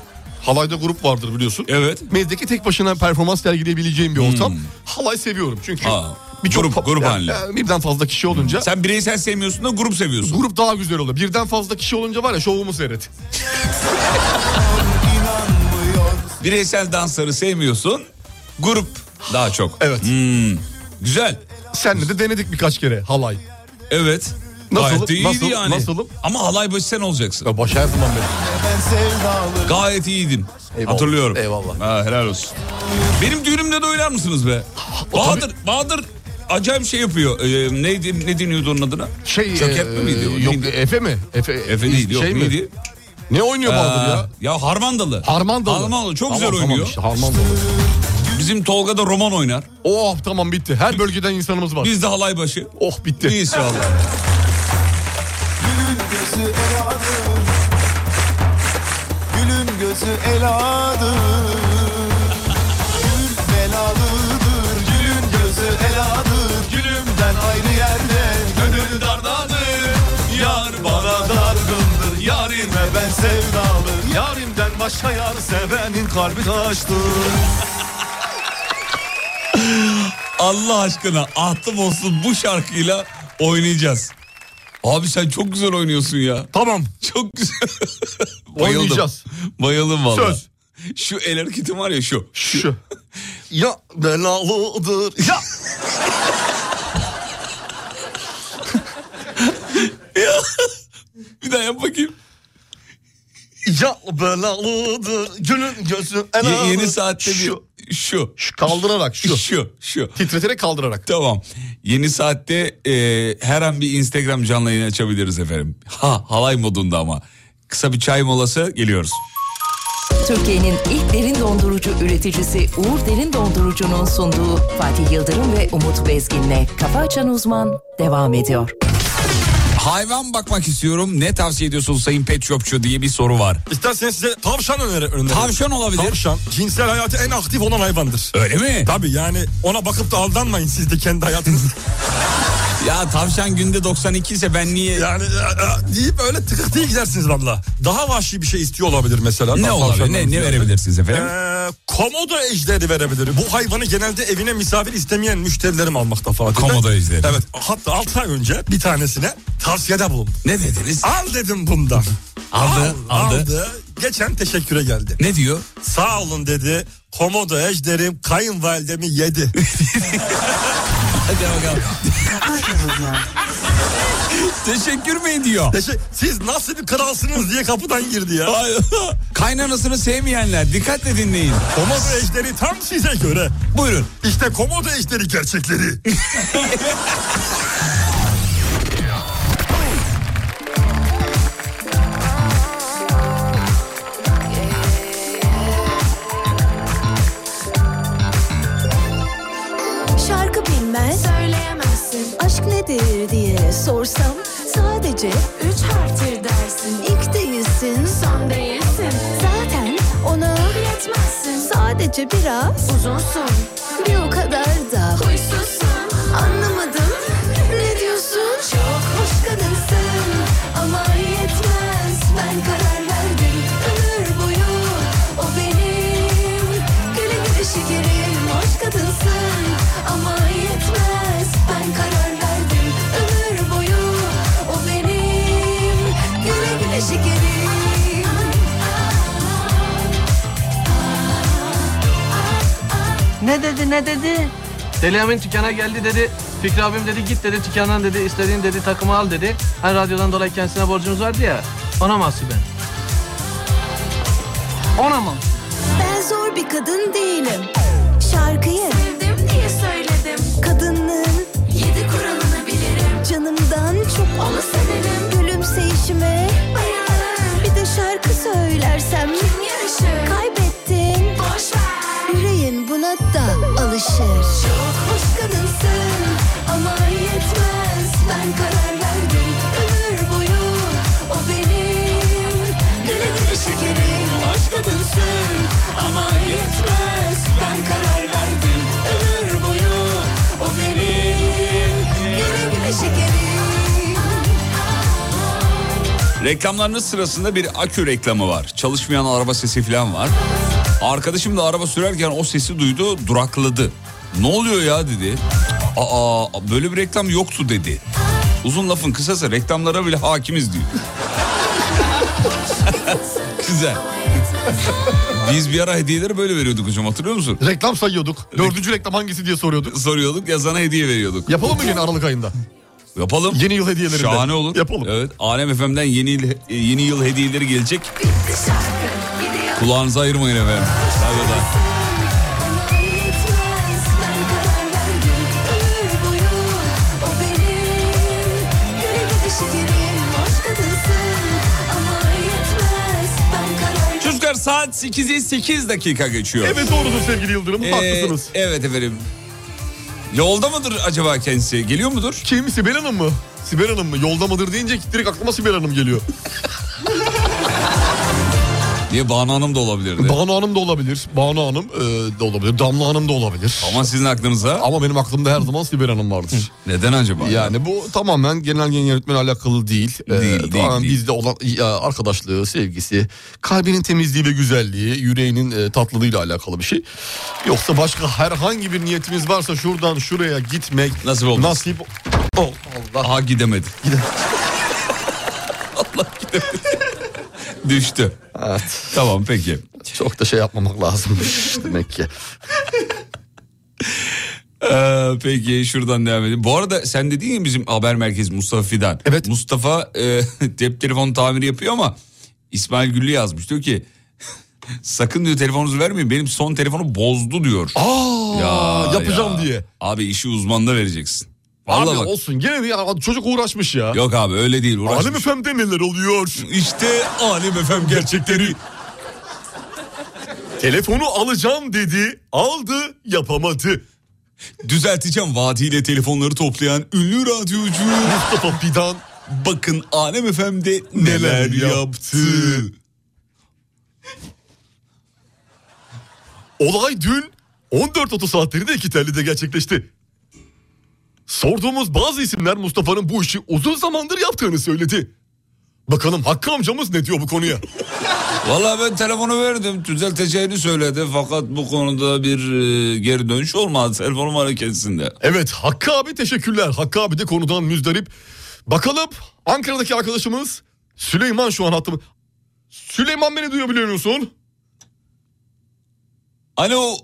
S4: Halayda grup vardır biliyorsun.
S3: Evet. Hmm.
S4: Mezdeki tek başına performans sergileyebileceğim bir ortam. Halay seviyorum çünkü.
S3: Aa,
S4: birçok
S3: grup-
S4: pa-
S3: grup
S4: ya-
S3: halinde. Hmm.
S4: ya birden fazla kişi olunca.
S3: Sen bireysel sevmiyorsun da grup seviyorsun.
S4: Grup daha güzel olur. Birden fazla kişi olunca var ya şovumu seyret.
S3: Bireysel dansları sevmiyorsun. Grup daha çok.
S4: Evet.
S3: Güzel.
S4: Senle de denedik birkaç kere halay.
S3: Evet.
S4: Nasıl-
S3: Gayet de iyiydi
S4: nasıl-
S3: yani.
S4: nasılım?
S3: Ama halay başı sen olacaksın.
S4: Ya başa her zaman benim.
S3: Gayet iyiydin.
S4: Eyvallah.
S3: Hatırlıyorum.
S4: Eyvallah.
S3: Ha, helal olsun. Benim düğünümde de oynar mısınız be? Bahadır, Bahadır acayip şey yapıyor. Ee, neydi, ne deniyordu onun adına?
S4: Şey,
S3: Çökertme
S4: e,
S3: miydi o?
S4: Yok
S3: Neydi?
S4: Efe mi? Efe,
S3: Efe değil, yok
S4: şey mi?
S3: neydi?
S4: Ne oynuyor Bahadır ya?
S3: Aa, ya Harmandalı.
S4: Harmandalı.
S3: Harmandalı çok
S4: Tamam,
S3: güzel
S4: tamam
S3: oynuyor.
S4: işte, Harmandalı.
S3: Bizim Tolga da roman oynar.
S4: Oh tamam bitti. Her bölgeden insanımız var.
S3: Biz de halay başı.
S4: Oh bitti.
S3: İyiyiz şu anda.
S5: gözü eladır Gülün gözü eladır Gül belalıdır Gülün gözü eladır Gülümden ayrı yerde Gönül dardadır Yar bana dargındır Yarime ben sevdalı Yarimden başka yar sevenin kalbi taştır
S3: Allah aşkına ahtım olsun bu şarkıyla oynayacağız. Abi sen çok güzel oynuyorsun ya.
S4: Tamam. <laughs>
S3: Çok güzel. Bayıldım.
S4: Oynayacağız.
S3: Bayıldım valla.
S4: Söz.
S3: Şu el hareketim var ya şu.
S4: Şu. <laughs> Ya belalıdır. Ya.
S3: Bir daha yap bakayım.
S4: Ya belalıdır. Günün gözü
S3: Ye-
S4: eladır.
S3: yeni saatte bir
S4: Şu.
S3: şu
S4: Şu kaldırarak şu.
S3: şu şu.
S4: Titreterek kaldırarak.
S3: Tamam. Yeni saatte e, her an bir Instagram canlı yayını açabiliriz efendim. Ha halay modunda ama. Kısa bir çay molası geliyoruz.
S6: Türkiye'nin ilk derin dondurucu üreticisi Uğur Derin Dondurucu'nun sunduğu Fatih Yıldırım ve Umut Bezgin'le Kafa Açan Uzman devam ediyor.
S3: Hayvan bakmak istiyorum. Ne tavsiye ediyorsun Sayın Pet Shopçu diye bir soru var.
S11: İsterseniz size tavşan öner öneririm.
S3: Tavşan olabilir.
S11: Tavşan cinsel hayatı en aktif olan hayvandır.
S3: Öyle mi?
S11: Tabii yani ona bakıp da aldanmayın siz de kendi hayatınız.
S3: <laughs> Ya tavşan günde 92 ise ben niye...
S11: yani e, e, deyip öyle tıkık diye gidersiniz valla. Daha vahşi bir şey istiyor olabilir mesela.
S3: ne
S11: Tavşandan
S3: olabilir? Ne, ne
S11: ziyade.
S3: verebilirsiniz efendim?
S11: Ee,
S5: E, komodo ejderi verebilirim. Bu hayvanı genelde evine misafir istemeyen müşterilerim almakta falan.
S3: Komodo ejderi.
S5: Evet. Hatta 6 ay önce bir tanesine tavsiyede bulundum.
S3: Ne dediniz?
S5: Al dedim bundan.
S3: <laughs> Aldı,
S5: Al,
S3: aldı.
S5: Geçen teşekküre geldi.
S3: Ne diyor?
S5: Sağ olun dedi. Komodo ejderim kayınvalidemi yedi.
S3: <laughs> Hadi bakalım. Teşekkür mü ediyor?
S5: Siz nasıl bir kralsınız diye kapıdan girdi ya.
S3: <laughs> Kaynanasını sevmeyenler dikkatle dinleyin.
S5: Komodo ejderi tam size göre.
S3: Buyurun.
S5: İşte komodo ejderi gerçekleri.
S3: <laughs>
S9: Şarkı bilmez, söyleyemezsin. Aşk nedir diye sorsam sadece üç harftir dersin. İlk değilsin, son değilsin. Zaten ona yetmezsin. Sadece biraz uzunsun. Bir o kadar da huysuzsun. Anlamadım. Ne diyorsun? Çok hoş kadınsın ama yetmez. Ben karar verdim. Ömür boyu o benim. Güle güle şekerim hoş kadınsın ama yetmez ben karar verdim ömür boyu o benim güle güle şekerim.
S12: Ne dedi ne dedi?
S10: Deli Emin tükana geldi dedi. Fikri abim dedi git dedi tükandan dedi istediğin dedi takımı al dedi. Hani radyodan dolayı kendisine borcumuz vardı ya. Ona mahsuben. Ona mı?
S9: Ben zor bir kadın değilim. Şarkıyı sevdim diye söyledim. Kadınlığın yedi kuralını bilirim. Canımdan çok onu severim. Gülümseyişime bayılırım. Bir de şarkı söylersem kim yarışır? Kaybettin. Boş ver. Yüreğin buna da alışır. Çok hoş kadınsın ama yetmez. Ben karar verdim. Ömür boyu o benim. Güle güle şekerim. Hoş kadınsın ama yetmez. Ben karar verdim. Ömür boyu o benim. Güle güle şekerim.
S3: Reklamlarınız sırasında bir akü reklamı var. Çalışmayan araba sesi falan var. Arkadaşım da araba sürerken o sesi duydu durakladı. Ne oluyor ya dedi. Aa böyle bir reklam yoktu dedi. Uzun lafın kısası reklamlara bile hakimiz diyor. <laughs> Güzel. Biz bir ara hediyeleri böyle veriyorduk hocam hatırlıyor musun?
S4: Reklam sayıyorduk. Dördüncü reklam hangisi diye soruyorduk.
S3: Soruyorduk yazana hediye veriyorduk.
S4: Yapalım mı yine Aralık ayında?
S3: Yapalım. Yeni
S4: yıl hediyeleri.
S3: Şahane olur. Yapalım. Evet. Alem FM'den yeni yıl, e, yeni yıl hediyeleri gelecek. Kulağınızı ayırmayın efendim. Saygılar.
S9: Yetmez ben karar verdim. Ömür boyu o benim. Güle güle şekerim. Hoş kadınsın ama yetmez ben karar
S3: Çocuklar saat 8'i 8 dakika geçiyor.
S4: Evet doğrudur sevgili Yıldırım.
S3: Ee,
S4: Haklısınız.
S3: Evet efendim. Yolda mıdır acaba kendisi? Geliyor mudur?
S4: Kim Sibel Hanım mı? Sibel Hanım mı? Yolda mıdır deyince direkt aklıma Sibel Hanım geliyor.
S3: Niye Banu Hanım da olabilirdi.
S4: Banu Hanım da olabilir. Banu Hanım e, da olabilir. Damla Hanım da olabilir.
S3: Ama sizin aklınıza?
S4: Ama benim aklımda her zaman Sibel Hanım vardır.
S3: Neden acaba?
S4: Yani bu tamamen genel yayın yönetmeni alakalı değil. Ee,
S3: Değil,
S4: tamamen
S3: değil,
S4: Bizde olan e, arkadaşlığı, sevgisi, kalbinin temizliği ve güzelliği, yüreğinin e, tatlılığıyla alakalı bir şey. Yoksa başka herhangi bir niyetimiz varsa şuradan şuraya gitmek
S3: nasip olmaz.
S4: Nasip ol. Allah.
S3: Aha gidemedi. <laughs> Düştü.
S4: Evet.
S3: Tamam peki.
S4: Çok da şey yapmamak lazımmış <laughs> demek ki.
S3: Ee, peki şuradan devam edelim. Bu arada sen dedin ya bizim haber merkezi Mustafa Fidan. Evet. Mustafa e, <laughs> cep telefonu tamiri yapıyor ama İsmail Güllü yazmış. Diyor ki <laughs> sakın diyor telefonunuzu vermeyin benim son telefonu bozdu diyor.
S4: Aa, yapacağım diye.
S3: Abi işi uzmanına vereceksin. Vallahi
S4: abi
S3: bak.
S4: olsun gene bir ya, çocuk uğraşmış ya.
S3: Yok abi öyle değil uğraşmış.
S4: Alem FM'de neler oluyor?
S3: İşte Alem FM gerçekleri.
S4: Telefonu alacağım dedi, aldı, yapamadı.
S3: Düzelteceğim vaadiyle telefonları toplayan ünlü radyocu
S4: Mustafa Fidan.
S3: Bakın Alem FM'de neler,
S4: Neler
S3: yaptı.
S4: Olay dün 14.30 saatlerinde iki telli de gerçekleşti. Sorduğumuz bazı isimler Mustafa'nın bu işi uzun zamandır yaptığını söyledi. Bakalım Hakkı amcamız ne diyor bu konuya?
S3: Valla ben telefonu verdim düzelteceğini söyledi fakat bu konuda bir e, geri dönüş <laughs> olmaz telefonum hareketsinde.
S4: Evet Hakkı abi teşekkürler. Hakkı abi de konudan müzdarip. Bakalım Ankara'daki arkadaşımız Süleyman şu an hattı. Süleyman beni duyabiliyor musun?
S3: Alo.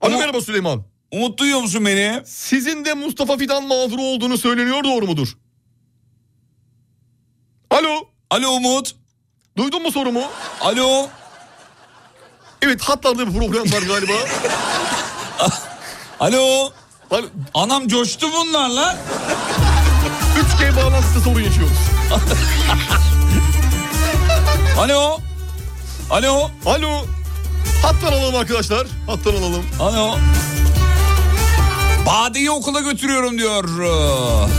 S4: Alo merhaba Süleyman.
S3: Umut duyuyor musun beni?
S4: Sizin de Mustafa Fidan mağduru olduğunu söyleniyor doğru mudur? Alo.
S3: Alo Umut.
S4: Duydun mu sorumu?
S3: Alo.
S4: Evet hatlarda bir problem var
S3: <laughs>
S4: galiba.
S3: Alo.
S4: Hani Anam
S3: coştu bunlar lan.
S4: 3G bağlantısı sorun yaşıyoruz.
S3: Alo. Alo.
S4: Alo. Hattan alalım arkadaşlar. Hattan alalım.
S3: Alo. Bade'yi okula götürüyorum diyor.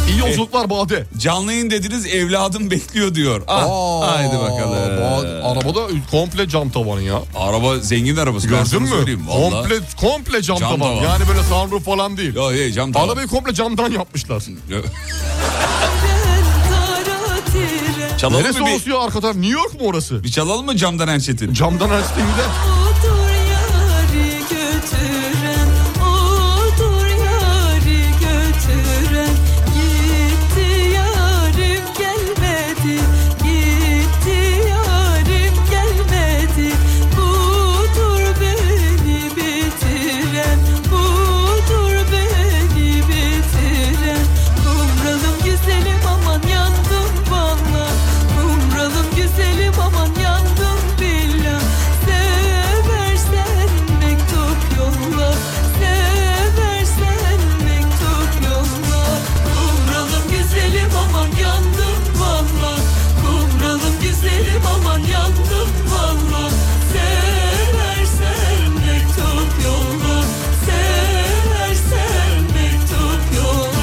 S4: İyi yolculuklar Bade.
S3: Canlı yayın dediniz evladım <laughs> bekliyor diyor. Eh. Ah,
S4: Aa,
S3: haydi bakalım.
S4: Bade- arabada komple cam tavanı ya.
S3: Araba zengin arabası. ben
S4: Gördün
S3: sana
S4: mü?
S3: söyleyeyim, vallahi.
S4: Komple, komple cam, tavan.
S3: Cam tavan.
S4: Yani böyle sunroof falan değil.
S3: Yok yok cam tavan.
S4: Arabayı komple camdan yapmışlar.
S3: Çalalım
S4: Neresi
S3: mı bir-
S4: olsun ya arka taraf? New York mu orası?
S3: Bir çalalım mı camdan ençetin?
S4: Camdan ençetin gider.
S9: Odur yari götüren, odur yari götüren. Gitti yarim gelmedi, gitti yarim gelmedi. Budur beni bitiren, budur beni bitiren. Kumralım güzelim aman yandım valla. Kumralım güzelim aman yandım billah. Seversen mektup yolla Seversen mektup yolla Kumralım güzelim aman yandım valla Kumralım güzelim aman yandım valla Seversen mektup yolla Seversen mektup yolla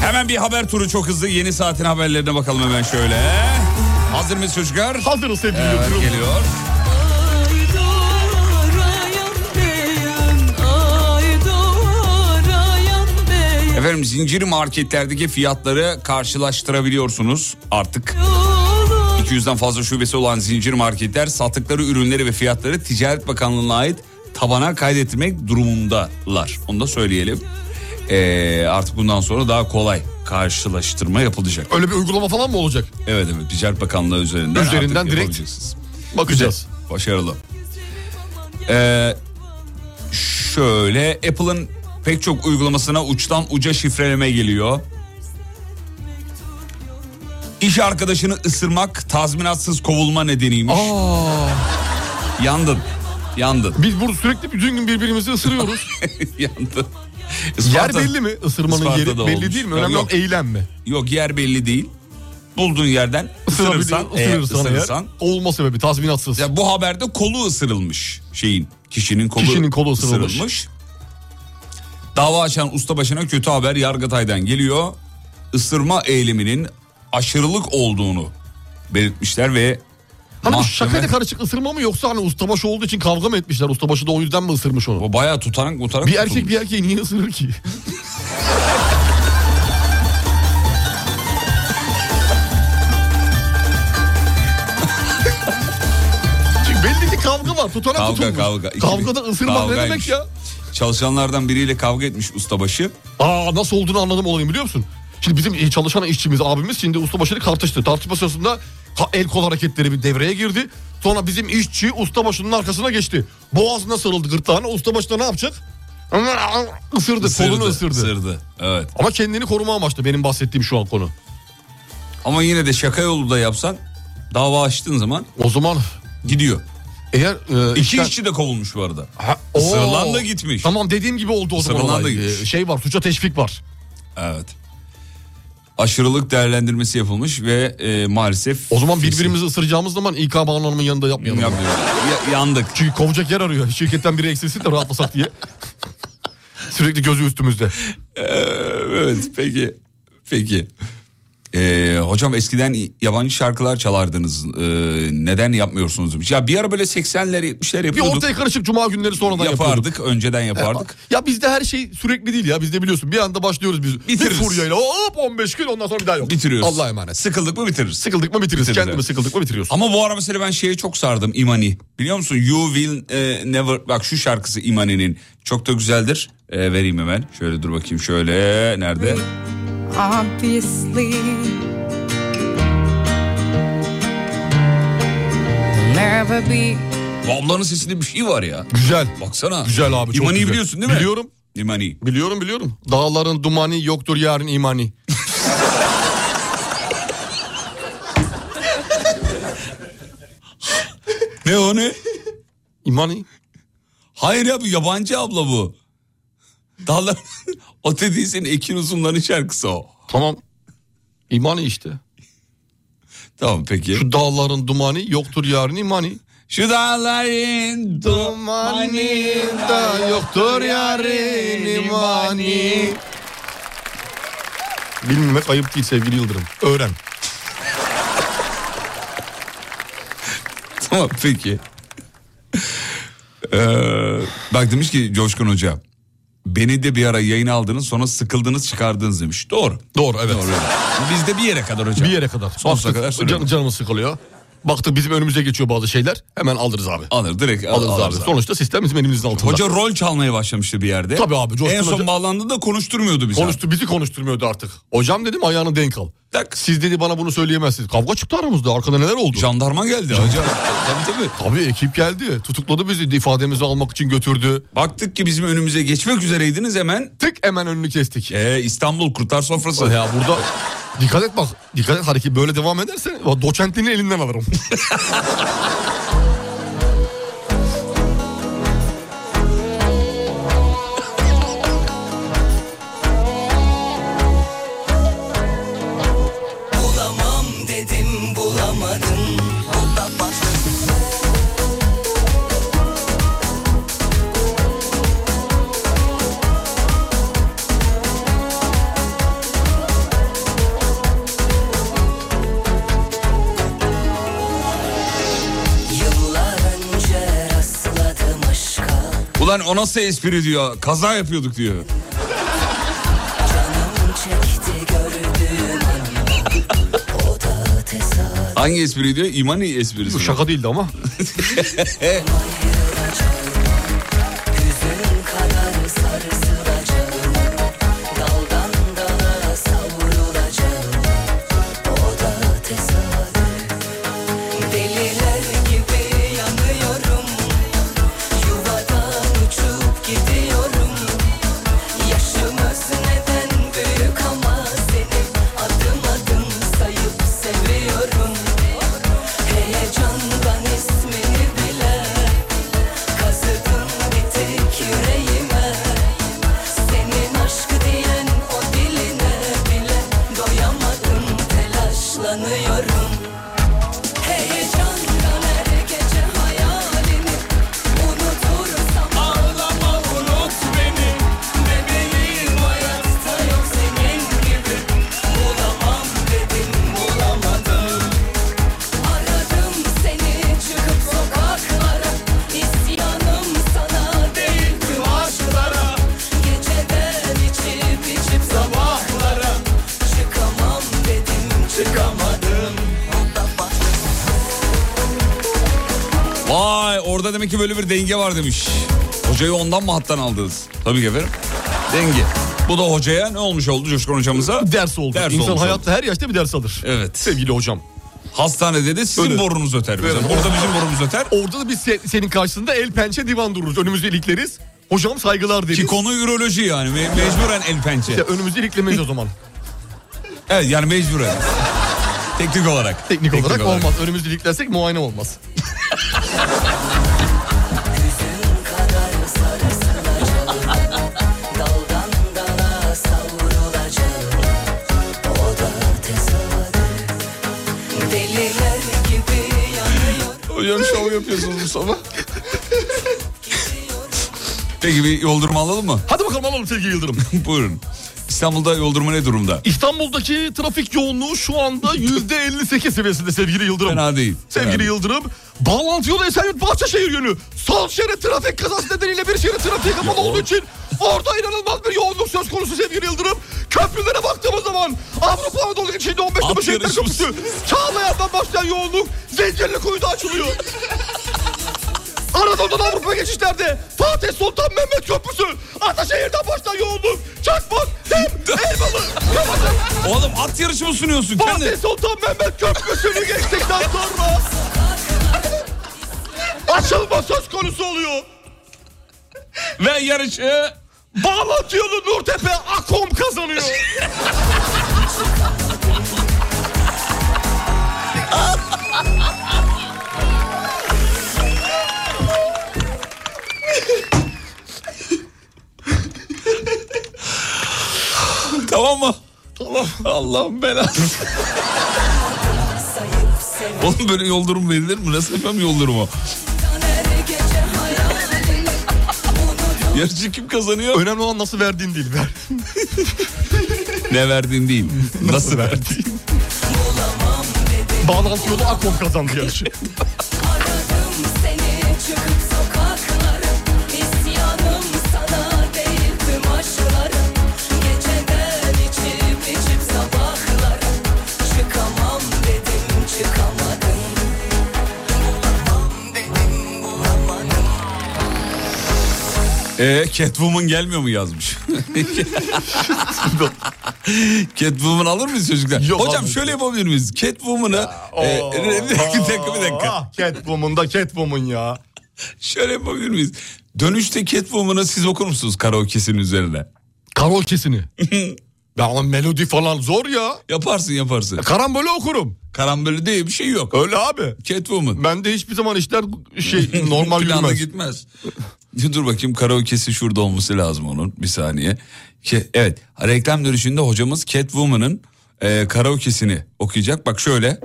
S3: Hemen bir haber turu çok hızlı. Yeni saatin haberlerine bakalım hemen şöyle. Hazır mıyız çocuklar?
S4: Hazırız sevgili
S3: evet, geliyor.
S9: Ay doğrayan beyan, ay doğrayan beyan
S3: Efendim zincir marketlerdeki fiyatları karşılaştırabiliyorsunuz artık. 200'den fazla şubesi olan zincir marketler sattıkları ürünleri ve fiyatları Ticaret Bakanlığı'na ait tabana kaydetmek durumundalar. Onu da söyleyelim. Ee, artık bundan sonra daha kolay karşılaştırma yapılacak.
S4: Öyle bir uygulama falan mı olacak?
S3: Evet evet Ticaret Bakanlığı üzerinden.
S4: Üzerinden
S3: artık
S4: direkt
S3: yapabileceksiniz.
S4: bakacağız.
S3: Güzel, başarılı. Ee, şöyle Apple'ın pek çok uygulamasına uçtan uca şifreleme geliyor. İş arkadaşını ısırmak tazminatsız kovulma nedeniymiş. Yandın. Yandın. <laughs>
S4: Biz burada sürekli bütün gün birbirimizi ısırıyoruz.
S3: Yandın.
S4: yer
S3: <laughs> Isparta-
S4: belli mi? Isırmanın
S3: Isparta'da
S4: yeri belli
S3: olmuş.
S4: değil mi? Önemli
S3: Yok.
S4: olan eylem mi?
S3: Yok yer belli değil. Bulduğun yerden ısırırsan,
S4: Isırabilir-
S3: eğer
S4: ısırırsan eğer
S3: e, ısırırsan
S4: olma sebebi tazminatsız. Hani
S3: Ya bu haberde kolu ısırılmış şeyin. Kişinin kolu,
S4: Kişinin kolu ısırılmış.
S3: Dava açan ustabaşına kötü haber Yargıtay'dan geliyor. Isırma eyleminin aşırılık olduğunu belirtmişler ve
S4: Hani bu
S3: mahkeme-
S4: şakayla karışık ısırma mı yoksa hani ustabaşı olduğu için kavga mı etmişler? Ustabaşı da o yüzden mi ısırmış onu?
S3: O bayağı tutanak mutanak
S4: Bir erkek
S3: tutulmuş.
S4: bir erkeği niye ısırır ki? Çünkü belli ki kavga var. Tutanak
S3: Kavga,
S4: tutulmuş.
S3: kavga. İki-
S4: Kavgada ısırmak ne demek
S3: kavgaymış.
S4: ya?
S3: Çalışanlardan biriyle kavga etmiş ustabaşı.
S4: Aa nasıl olduğunu anladım olayım biliyor musun? Şimdi bizim e, çalışan işçimiz abimiz şimdi ustabaşıyla tartıştı. Tartışma sırasında ka- el kol hareketleri bir devreye girdi. Sonra bizim işçi ustabaşının arkasına geçti. Boğazına sarıldı gırtlağına. Ustabaşı da ne yapacak? Isırdı, kolunu ısırdı.
S3: ısırdı. Evet.
S4: Ama kendini koruma amaçlı benim bahsettiğim şu an konu.
S3: Ama yine de şaka yolu da yapsan dava açtığın zaman
S4: o zaman
S3: gidiyor.
S4: Eğer e,
S3: iki
S4: işten-
S3: işçi de kovulmuş bu arada.
S4: Oo.
S3: Isırılan da gitmiş.
S4: Tamam dediğim gibi oldu o zaman
S3: Isırılan da
S4: olay.
S3: gitmiş.
S4: Ee, Şey var suça teşvik var.
S3: Evet. Aşırılık değerlendirmesi yapılmış ve e, maalesef...
S4: O zaman birbirimizi ısıracağımız zaman İK Hanım'ın yanında yapmayalım.
S3: Yapmayalım. yandık.
S4: Çünkü kovacak yer arıyor.
S3: <laughs>
S4: Şirketten biri eksilsin de rahatlasak diye. Sürekli gözü üstümüzde.
S3: Evet peki. Peki. Ee, hocam eskiden yabancı şarkılar çalardınız. Ee, neden yapmıyorsunuz? demiş. Ya bir ara böyle 80'ler 70'ler
S4: Bir
S3: yapıyorduk.
S4: ortaya karışıp cuma günleri sonradan
S3: yapardık.
S4: yapıyorduk.
S3: Önceden yapardık.
S4: Ya bizde her şey sürekli değil ya. Bizde biliyorsun bir anda başlıyoruz biz.
S3: Bitiririz.
S4: Bir furyayla hop 15 gün ondan sonra bir daha yok.
S3: Bitiriyoruz.
S4: E, Allah'a emanet.
S3: Sıkıldık mı bitiririz.
S4: Sıkıldık mı bitiririz.
S3: Bitiririz,
S4: Kendimi
S3: evet.
S4: sıkıldık mı bitiriyorsun.
S3: Ama bu ara mesela ben şeye çok sardım İmani. Biliyor musun? You Will e, Never... Bak şu şarkısı İmani'nin. Çok da güzeldir. E, vereyim hemen. Şöyle dur bakayım şöyle. Nerede?
S1: Obviously, never be
S3: Bu ablanın sesinde bir şey var ya. Güzel. Baksana. Güzel abi.
S4: çok
S3: İmani'yi
S4: güzel.
S3: biliyorsun değil mi?
S4: Biliyorum.
S3: İmani.
S4: Biliyorum biliyorum. Dağların dumanı yoktur yarın imani.
S3: Ne o ne?
S4: İmani.
S3: Hayır ya bu yabancı abla bu. Dağlar... <laughs> o dediği senin Ekin Uzunların şarkısı o.
S4: Tamam. İmani işte.
S3: Tamam peki.
S4: Şu dağların dumanı yoktur yarın imani.
S3: Şu dağların
S4: dumanı da yoktur yarın imani. Bilmemek ayıp değil sevgili Yıldırım. Öğren.
S3: Tamam peki. Ee, bak demiş ki Coşkun Hoca. Beni de bir ara yayına aldınız sonra sıkıldınız çıkardınız demiş. Doğru.
S4: Doğru evet.
S3: Bizde bir yere kadar hocam.
S4: Bir yere kadar.
S3: Sonsuza kadar sürüyor.
S4: Can, canımız sıkılıyor. Baktık bizim önümüze geçiyor bazı şeyler. Hemen alırız abi.
S3: Alır direkt al-
S4: alırız,
S3: alırız
S4: abi.
S3: abi.
S4: Sonuçta sistem bizim elimizin altında.
S3: Hoca rol çalmaya başlamıştı bir yerde.
S4: Tabii abi, Coşkun
S3: En son
S4: Hoca-
S3: bağlandığında konuşturmuyordu bizi.
S4: Konuştu bizi konuşturmuyordu artık. Hocam dedim ayağını denk al. Siz dedi bana bunu söyleyemezsiniz. Kavga çıktı aramızda. Arkada neler oldu?
S3: Jandarma geldi hocam. tabii tabii.
S4: Tabii ekip geldi. Tutukladı bizi. ifademizi almak için götürdü.
S3: Baktık ki bizim önümüze geçmek üzereydiniz hemen.
S4: Tık hemen önünü kestik.
S3: Ee, İstanbul kurtar sofrası.
S4: Ya burada dikkat et bak. Dikkat et hareket böyle devam ederse doçentliğini elinden alırım.
S9: Bulamam dedim bulamadım Yıllar önce rastladım aşka
S3: Ulan o nasıl espri diyor. Kaza yapıyorduk diyor.
S9: Çekti gördüğüm anda O da tesadüf
S3: Hangi espri diyor? İmani esprisi. Bu şaka
S4: değildi ama.
S9: Hüzün kadar sarsılacağım Daldan dala savrulacağım O da tesadüf Deliler gibi yanıyorum Yuvadan uçup gidiyorum Yaşımız neden büyük ama seni Adım adım sayıp seviyorum Heyecandan ismini bile Kazıdın bir tek yüreğime Senin aşk diyen o diline bile Doyamadım telaşlanıyorum Heyecandan her gece hayalini Unutursam ağlama unut beni Bebeğim hayatta yok senin gibi Bulamam dedim bulamadım Aradım seni çıkıp sokaklara İsyanım sana değil tüm aşklara Geceden içip içip sabahlara Çıkamam dedim çıkamadım
S3: Vay orada demek ki böyle bir denge var demiş. Hocayı ondan mı hattan aldınız? Tabii ki efendim. Denge. Bu da hocaya ne olmuş oldu Coşkun hocamıza?
S4: Ders oldu.
S3: Ders
S4: İnsan
S3: olmuş
S4: hayatta
S3: oldu.
S4: her yaşta bir ders alır.
S3: Evet.
S4: Sevgili hocam.
S3: Hastanede de sizin
S4: Öyle.
S3: borunuz öter.
S4: Evet.
S3: mesela. Burada bizim borumuz öter.
S4: Orada da biz se- senin karşısında el pençe divan dururuz. Önümüzü ilikleriz. Hocam saygılar deriz.
S3: Ki konu üroloji yani. Me- mecburen el pençe.
S4: İşte önümüzü iliklemeyiz o zaman.
S3: Evet yani mecburen. Teknik olarak.
S4: Teknik, olarak, olmaz. Önümüzü iliklersek muayene olmaz. <laughs>
S9: Daldan dala savrulacağım O da tesadüf Deliler gibi yanıyor
S3: Hocam şov yapıyorsunuz bu sabah. Peki bir yoldurma alalım mı?
S4: Hadi bakalım alalım sevgili Yıldırım.
S3: <laughs> Buyurun. İstanbul'da yol durumu ne durumda?
S4: İstanbul'daki trafik yoğunluğu şu anda %58 seviyesinde sevgili Yıldırım.
S3: Fena değil.
S4: Sevgili
S3: Fena değil.
S4: Yıldırım. Bağlantı yolu Esenyurt Bahçeşehir yönü. Sol şerit trafik kazası nedeniyle bir şerit trafiğe kapalı olduğu için orada inanılmaz bir yoğunluk söz konusu sevgili Yıldırım. Köprülere baktığımız zaman Avrupa Anadolu geçişinde 15
S3: At
S4: Temmuz şeritler
S3: yarışı
S4: kapısı. Çağlayan'dan başlayan yoğunluk zincirli kuyuda açılıyor. Anadolu'dan Avrupa geçişlerde Fatih Sultan Mehmet Köprüsü Ataşehir'den başlayan yoğunluk Çakmak, Dem, Elmalı, Kavacak
S3: Oğlum at yarışı mı sunuyorsun?
S4: Fatih Sultan Mehmet Köprüsü'nü geçtikten sonra açılma söz konusu oluyor.
S3: Ve yarışı
S4: bağlantı yolu Nurtepe Akom kazanıyor.
S3: tamam mı? Tamam. Allah'ım belası. Oğlum böyle yol durumu verilir mi? Nasıl efendim yol durumu? Yarışı kim kazanıyor?
S4: Önemli olan nasıl verdiğin değil. Ver.
S3: Ne
S4: <laughs>
S3: verdiğin değil. Nasıl verdiğin.
S4: <laughs> Bağlantı yolu Akom kazandı <laughs> yarışı.
S9: Seni çıkıp sokaklara İsyanım sana değil tüm aşklarım Geceden içip içip sabahlara Çıkamam dedim çıkamadım
S3: Ee, Catwoman gelmiyor mu yazmış? <laughs> Catwoman alır mıyız çocuklar? Hocam şöyle yapabilir miyiz? Catwoman'ı... e,
S4: oh.
S3: bir dakika bir dakika. Bir dakika.
S4: Ah, Catwoman da Catwoman ya.
S3: şöyle yapabilir miyiz? Dönüşte Catwoman'ı siz okur musunuz karaoke'sinin üzerine?
S4: <laughs> Karaoke'sini? ya ama melodi falan zor ya.
S3: Yaparsın yaparsın.
S4: Karambolü okurum.
S3: Karambole diye bir şey yok.
S4: Öyle abi.
S3: Catwoman.
S4: Ben de hiçbir zaman işler
S3: <laughs>
S4: şey normal
S3: Planlı
S4: yürümez.
S3: gitmez. <laughs> Dur bakayım karaoke'si şurada olması lazım onun. Bir saniye. Ke- Evet reklam dönüşünde hocamız Catwoman'ın e, karaoke'sini okuyacak. Bak şöyle.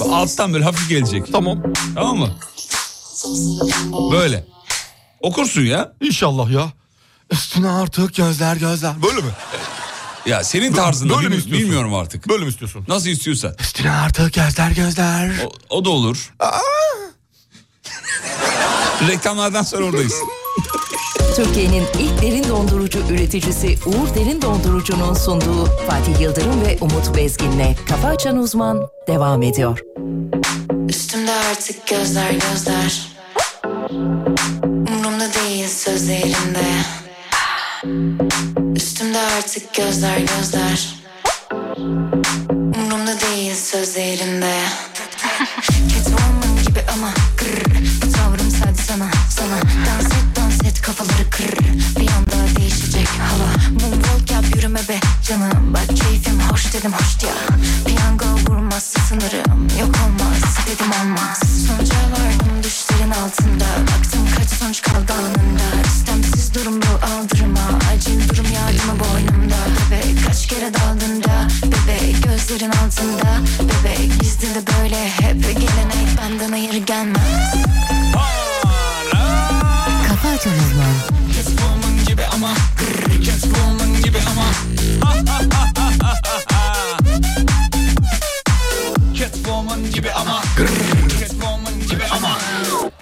S3: Bak Alttan böyle hafif gelecek.
S4: Tamam.
S3: Tamam mı? Böyle. Okursun ya.
S4: İnşallah ya. Üstüne artık gözler gözler. Böyle mi?
S3: Ya senin tarzında
S4: Böyle mi
S3: bilmi-
S4: istiyorsun?
S3: bilmiyorum artık.
S4: Böyle mi istiyorsun?
S3: Nasıl istiyorsan.
S4: Üstüne artık gözler gözler.
S3: O, o da olur. Reklamlardan sonra oradayız.
S6: Türkiye'nin ilk derin dondurucu üreticisi Uğur Derin Dondurucu'nun sunduğu Fatih Yıldırım ve Umut Bezgin'le Kafa Açan Uzman devam ediyor.
S13: Üstümde artık gözler gözler Umurumda değil söz elinde Üstümde artık gözler gözler Umurumda değil söz elinde Catwoman gibi ama kırr Bu tavrım sadece sana sana Dans et dans et kafaları kırr Bir anda değişecek hava Moonwalk yap yürüme be canım Bak keyfim hoş dedim hoş ya Piyango vurmaz sınırım Yok olmaz dedim olmaz Sonuca vardım düşlerin altında Baktım kaç sonuç kaldı alnında İstemsiz durum bu aldırma Acil durum yardımı boynumda Bebek kaç kere daldın da Bebek gözlerin altında Bebek gizlili böyle hep Gelenek benden hayır gelmez Kafa açan uzman
S9: Catwoman gibi ama grr, Catwoman gibi ama Ha, ha, ha, ha, ha, ha, ha. Catwoman gibi ama grr, Catwoman gibi ama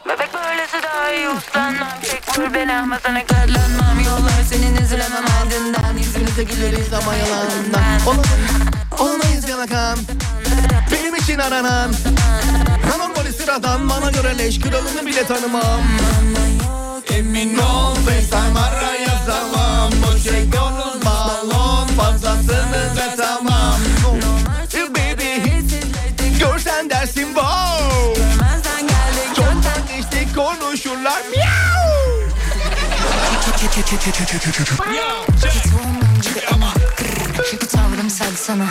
S1: Bebek böylesi daha iyi uslanmam Tek vurur beni ama sana katlanmam Yollar senin üzülemem ardından Yüzümüze güleriz ama yalanından
S5: Olmayız yanakan Benim için aranan Anormali sıradan bana göre leş kralını bile tanımam Emin ol FaceTime araya tamam Bu şey konul balon fazlasını da tamam Normal baby Görsen dersin wow Görmezden geldik Çoktan geçtik konuşurlar miau
S13: Catwoman gibi ama kırr. Bu tavrım sen sana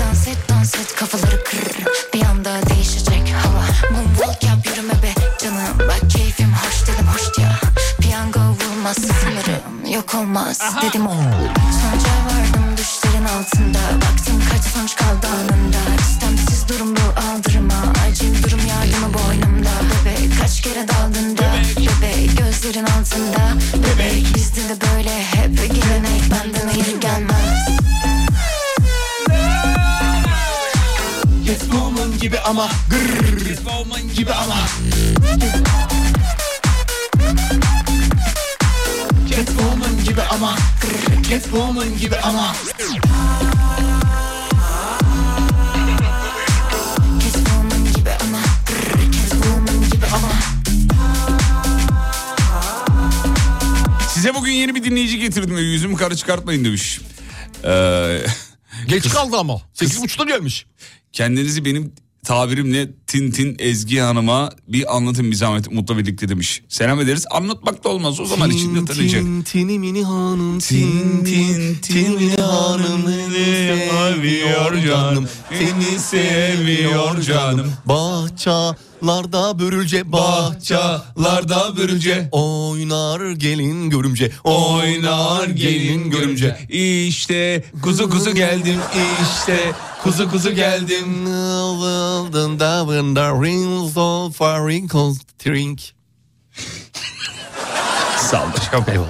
S13: Dans et dans et kafaları kırr Bir anda değişecek hava Moonwalk yap yürüme be canım Bak keyfim hoş dedim hoş ya Piyango vurmaz sınırım Yok olmaz dedim olmaz Sonuca vardım düşlerin altında Baktım kaç sonuç kaldı anında İstemsiz durum bu aldırma Acil durum yardımı boynumda Bebek kaç kere daldın da Bebek gözlerin altında Bebek bizde de böyle hep
S2: gibi ama Grrr gibi ama Catwoman gibi ama Grrr, Catwoman gibi ama
S3: Size bugün yeni bir dinleyici getirdim ve yüzümü kara çıkartmayın demiş. Ee, Geç kaldı ama. Sekiz buçukta gelmiş. <laughs> Kendinizi benim tabirimle Tintin Ezgi Hanım'a bir anlatın bir zahmet mutlu birlikte demiş. Selam ederiz. Anlatmak da olmaz o zaman içinde tanıyacak.
S4: Tin tini mini hanım Tin tin tin mini hanım Seni seviyor canım Seni seviyor canım Bahçalarda börülce Bahçalarda börülce Oynar gelin görümce Oynar gelin görümce İşte kuzu kuzu geldim işte kuzu kuzu geldim
S3: Sağ olun.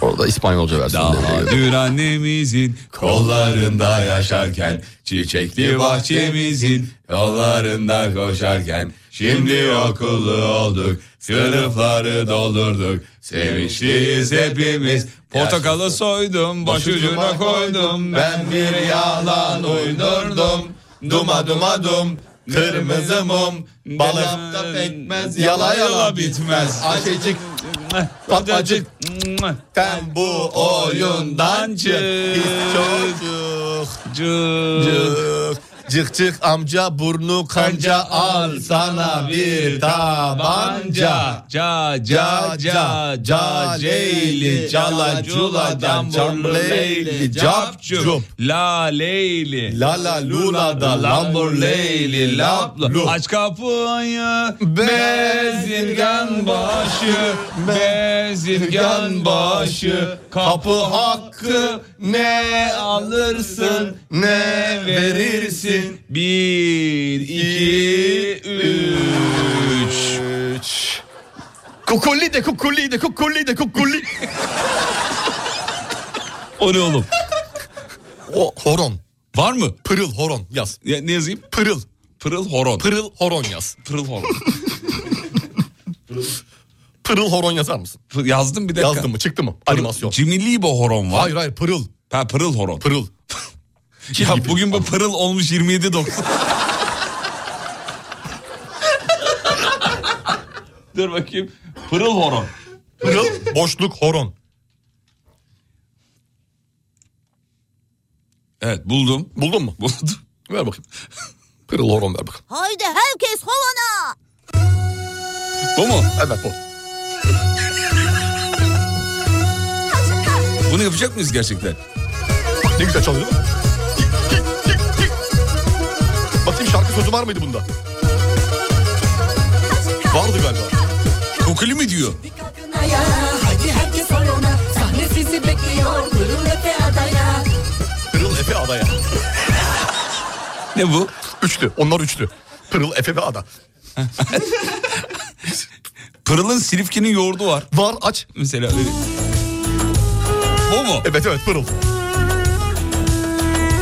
S4: Orada İspanyolca versiyonu
S3: Daha dün annemizin kollarında yaşarken Çiçekli bahçemizin yollarında koşarken Şimdi okullu olduk, sınıfları doldurduk Sevinçliyiz hepimiz Portakalı soydum, başucuna koydum Ben bir yalan uydurdum Duma duma dum, kırmızı mum Balıkta pekmez, yala yala bitmez Açıcık, patacık Sen bu oyundan çık Biz çocuk
S4: Cık cık cık amca burnu kanca al sana bir tabanca.
S3: Ca
S4: ca ca ca ceyli cala culadan çamleyli cap cup.
S3: La leyli. La la lula da lambur leyli laplu. Aç kapıyı bezirgan başı bezirgan başı kapı hakkı ne alırsın ne verirsin bir iki üç.
S4: Kukulli de kukulli de kukulli de kukulli.
S3: o ne oğlum?
S4: O horon.
S3: Var mı?
S4: Pırıl horon yaz.
S3: ne yazayım?
S4: Pırıl.
S3: Pırıl horon.
S4: Pırıl horon yaz.
S3: Pırıl horon.
S4: Pırıl horon yazar mısın?
S3: Yazdım bir dakika.
S4: Yazdım mı çıktı mı? Animasyon.
S3: Cimri bu horon var.
S4: Hayır hayır pırıl.
S3: Ha pırıl horon.
S4: Pırıl.
S3: ya bugün bu pırıl olmuş 27.90. Dur bakayım. Pırıl horon.
S4: Pırıl boşluk horon.
S3: Evet buldum.
S4: Buldun mu?
S3: Buldum.
S4: Ver bakayım. Pırıl horon ver bakayım.
S14: Haydi herkes hovana.
S3: Bu mu?
S4: Evet bu.
S3: Bunu yapacak mıyız gerçekten?
S4: Ne güzel çalıyor. Bakayım şarkı sözü var mıydı bunda? Vardı galiba.
S3: Kokuli mi diyor?
S15: Ayağa, Hadi herkes oyuna Sahne sizi bekliyor Kırıl Efe adaya
S4: Pırıl Efe adaya.
S3: ne bu?
S4: Üçlü. Onlar üçlü. Pırıl Efe ve ada.
S3: Pırıl'ın Silifke'nin yoğurdu var.
S4: Var aç.
S3: Mesela öyle. Bu mu?
S4: Evet evet Pırıl.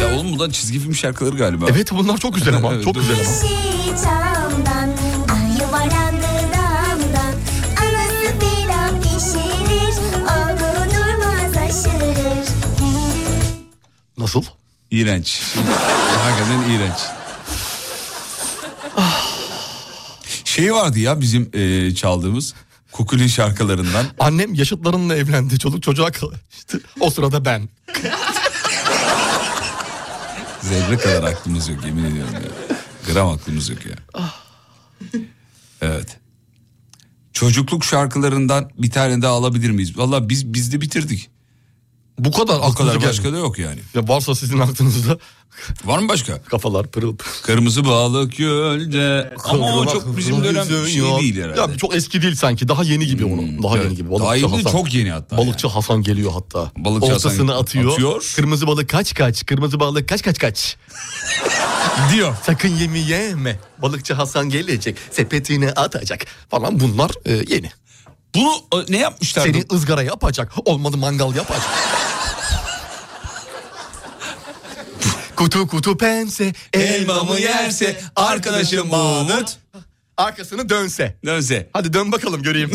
S3: Ya oğlum bundan çizgi film şarkıları galiba.
S4: Evet bunlar çok güzel ama. çok güzel ama.
S14: Çamdan, ayı varandı damdan. Anası pilav pişirir, oğlu durmaz aşırır.
S4: Nasıl?
S3: İğrenç. Hakikaten iğrenç. Ah. Şey vardı ya bizim eee, çaldığımız Kukuli şarkılarından.
S4: Annem yaşıtlarınla evlendi. Çoluk çocuğa karıştı. O sırada ben.
S3: Zerre kadar aklımız yok yemin ediyorum ya. Gram aklımız yok ya. Evet. Çocukluk şarkılarından bir tane daha alabilir miyiz? Valla biz biz de bitirdik.
S4: Bu kadar
S3: O kadar
S4: aklınıza
S3: başka
S4: geldi.
S3: da yok yani.
S4: Ya varsa sizin aklınızda.
S3: Var mı başka?
S4: Kafalar pırıl pırıl.
S3: Kırmızı balık gölde. Ama o çok bizim dönem şey değil herhalde. Hmm,
S4: Ya çok eski değil sanki. Daha yeni gibi onun. Daha yeni gibi.
S3: Daha yeni de çok yeni hatta
S4: Balıkçı Hasan geliyor hatta.
S3: Balıkçı Hasan
S4: Oltasını atıyor.
S3: atıyor.
S4: Kırmızı balık kaç kaç. Kırmızı balık kaç kaç kaç.
S3: Diyor.
S4: Sakın yemi yeme. Balıkçı Hasan gelecek. Sepetini atacak falan. Bunlar e, yeni.
S3: Bunu e, ne yapmışlar?
S4: Seni ızgara yapacak. Olmadı mangal yapacak. Kutu kutu pense
S5: Elmamı yerse arkadaşım Mahmut.
S4: Arkasını dönse.
S5: Dönse.
S4: Hadi dön bakalım <laughs> göreyim.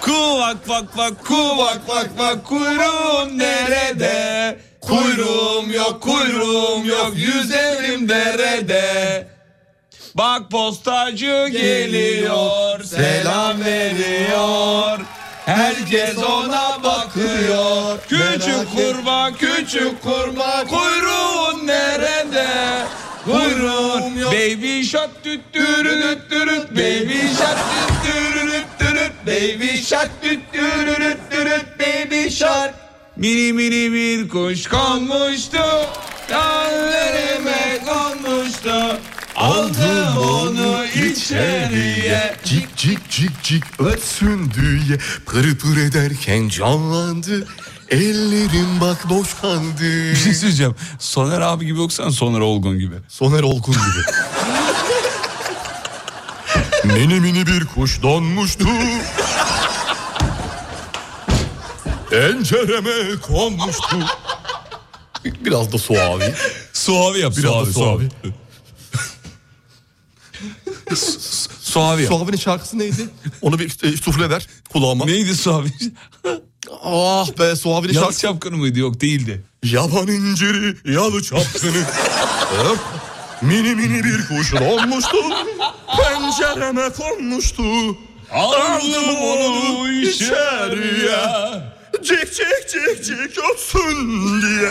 S5: Kuvak vak vak kuvak vak vak kuyruğum nerede? Kuyruğum yok kuyruğum yok yüzerim derede. Bak postacı geliyor selam veriyor. Herkes ona bakıyor. Küçük kurban küçük kurban kuyruğun nerede? Kuyruğum yok. Baby shot düt dürürüt dürüt baby shot düt dürürüt dürüt baby shot düt dürürüt dürüt baby shot. Mini mini bir kuş konmuştu. Dallarıma konmuştu. Aldım onu içeriye.
S4: Cik cik cik cik ötsün diye pırı pır ederken canlandı. Ellerim bak boş kaldı.
S5: Bir şey söyleyeceğim. Soner abi gibi yoksan Soner Olgun gibi.
S4: Soner Olgun gibi. mini mini bir kuş donmuştu. Pencereme konmuştu. Biraz da suavi.
S5: Suavi yap.
S4: Biraz
S5: suavi,
S4: da suavi.
S5: Suavi yap.
S4: Suavi'nin şarkısı neydi? Onu bir e, sufle ver kulağıma.
S5: Neydi Suavi?
S4: ah be Suavi'nin
S5: Yalı
S4: şarkısı.
S5: çapkını mıydı? Yok değildi.
S4: Yaban inciri yalı çapkını. Öp. mini mini bir kuş olmuştu. Pencereme konmuştu. Aldım onu içeriye. Cik cik cik cik ötsün diye.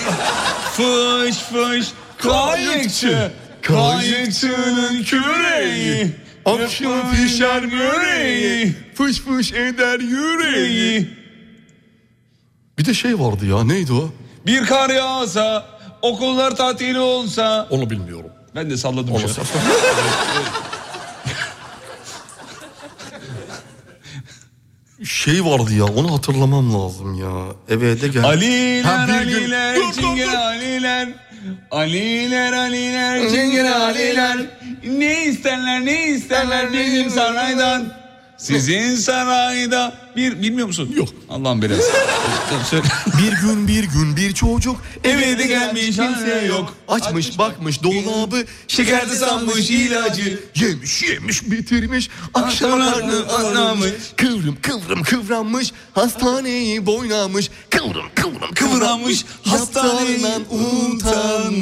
S5: Fış fış kayıkçı. Kayıkçının küreği.
S4: Akşam pişer böreği. Fış fış eder yüreği. Bir de şey vardı ya neydi o?
S5: Bir kar yağsa, okullar tatil olsa.
S4: Onu bilmiyorum.
S5: Ben de salladım şu an.
S4: <laughs> Şey vardı ya onu hatırlamam lazım ya. Eve de gel. Ha,
S5: Aliler,
S4: bir gün-
S5: aliler,
S4: Dur, dur,
S5: çingene
S4: dur.
S5: aliler. Aliler, aliler, çingene aliler. Ne isterler, ne isterler bizim saraydan. Sizin sarayda bir bilmiyor musun? Yok. Allah'ım belası. Tamam, söyle.
S4: Bir gün bir gün bir çocuk
S5: Eve de gelmiş kimse yok.
S4: Açmış bakmış dolabı
S5: Şekerci sanmış ilacı.
S4: Yemiş yemiş bitirmiş Akşam
S5: Akşam
S4: karnı
S5: karnı
S4: anlamış
S5: ağrımış.
S4: Kıvrım kıvrım kıvranmış Hastaneyi boynamış Kıvrım kıvrım kıvranmış Hastaneden utanmış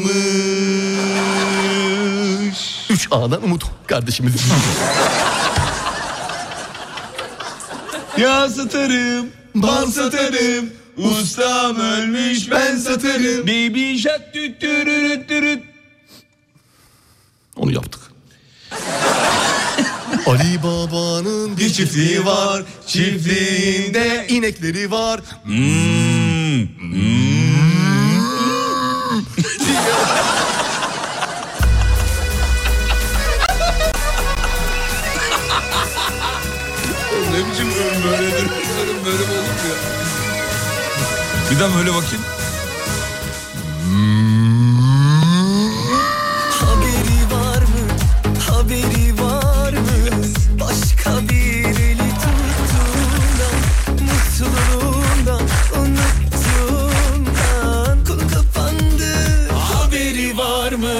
S4: 3A'dan Umut kardeşimiz
S5: <laughs> Ya satarım, bal satarım. Ustam ölmüş ben satarım. Baby shark tüttürürüttürüt.
S4: Onu yaptık <laughs> Ali Baba'nın bir çiftliği var Çiftliğinde inekleri var
S5: Ne biçim bölüm böyle bölüm böyle mi olur ya? Bir daha böyle bakayım.
S9: Haberi var mı? Haberi var mı? Başka bir eli tuttuğundan Mutluluğundan Unuttuğundan Konu kapandı Haberi var mı?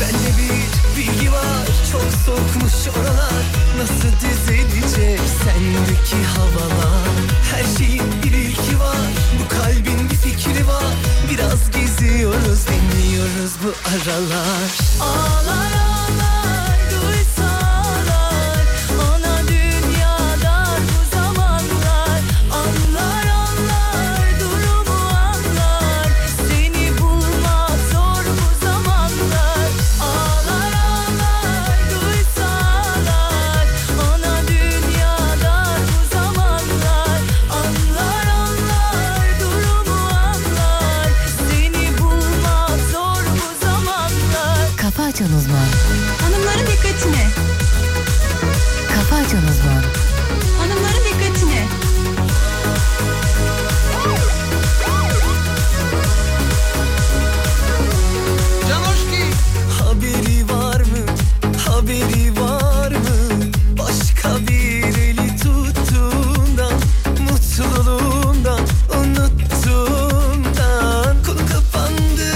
S9: Bende bir bilgi var Çok soğukmuş oralar Nasıl düzelecek sendeki havalar Her şeyin bir ilki var Bu kalbin bir fikri var Biraz geziyoruz dinliyoruz bu aralar
S2: Ağlar ağlar duysalar Ana dünyadan bu zamanlar Anlar anlar durumu anlar Seni bulmak zor bu zamanlar Ağlar ağlar duysalar Ana dünyadan bu zamanlar Anlar anlar durumu anlar Seni bulmak zor bu zamanlar
S13: Kafa Açan Uzman.
S2: Hanımların dikkatine.
S13: Kafa Açan Uzman.
S2: Hanımların dikkatine.
S9: Haberi var mı? Haberi var mı? Başka bir eli tuttuğundan Mutluluğundan Unuttuğundan Konu kapandı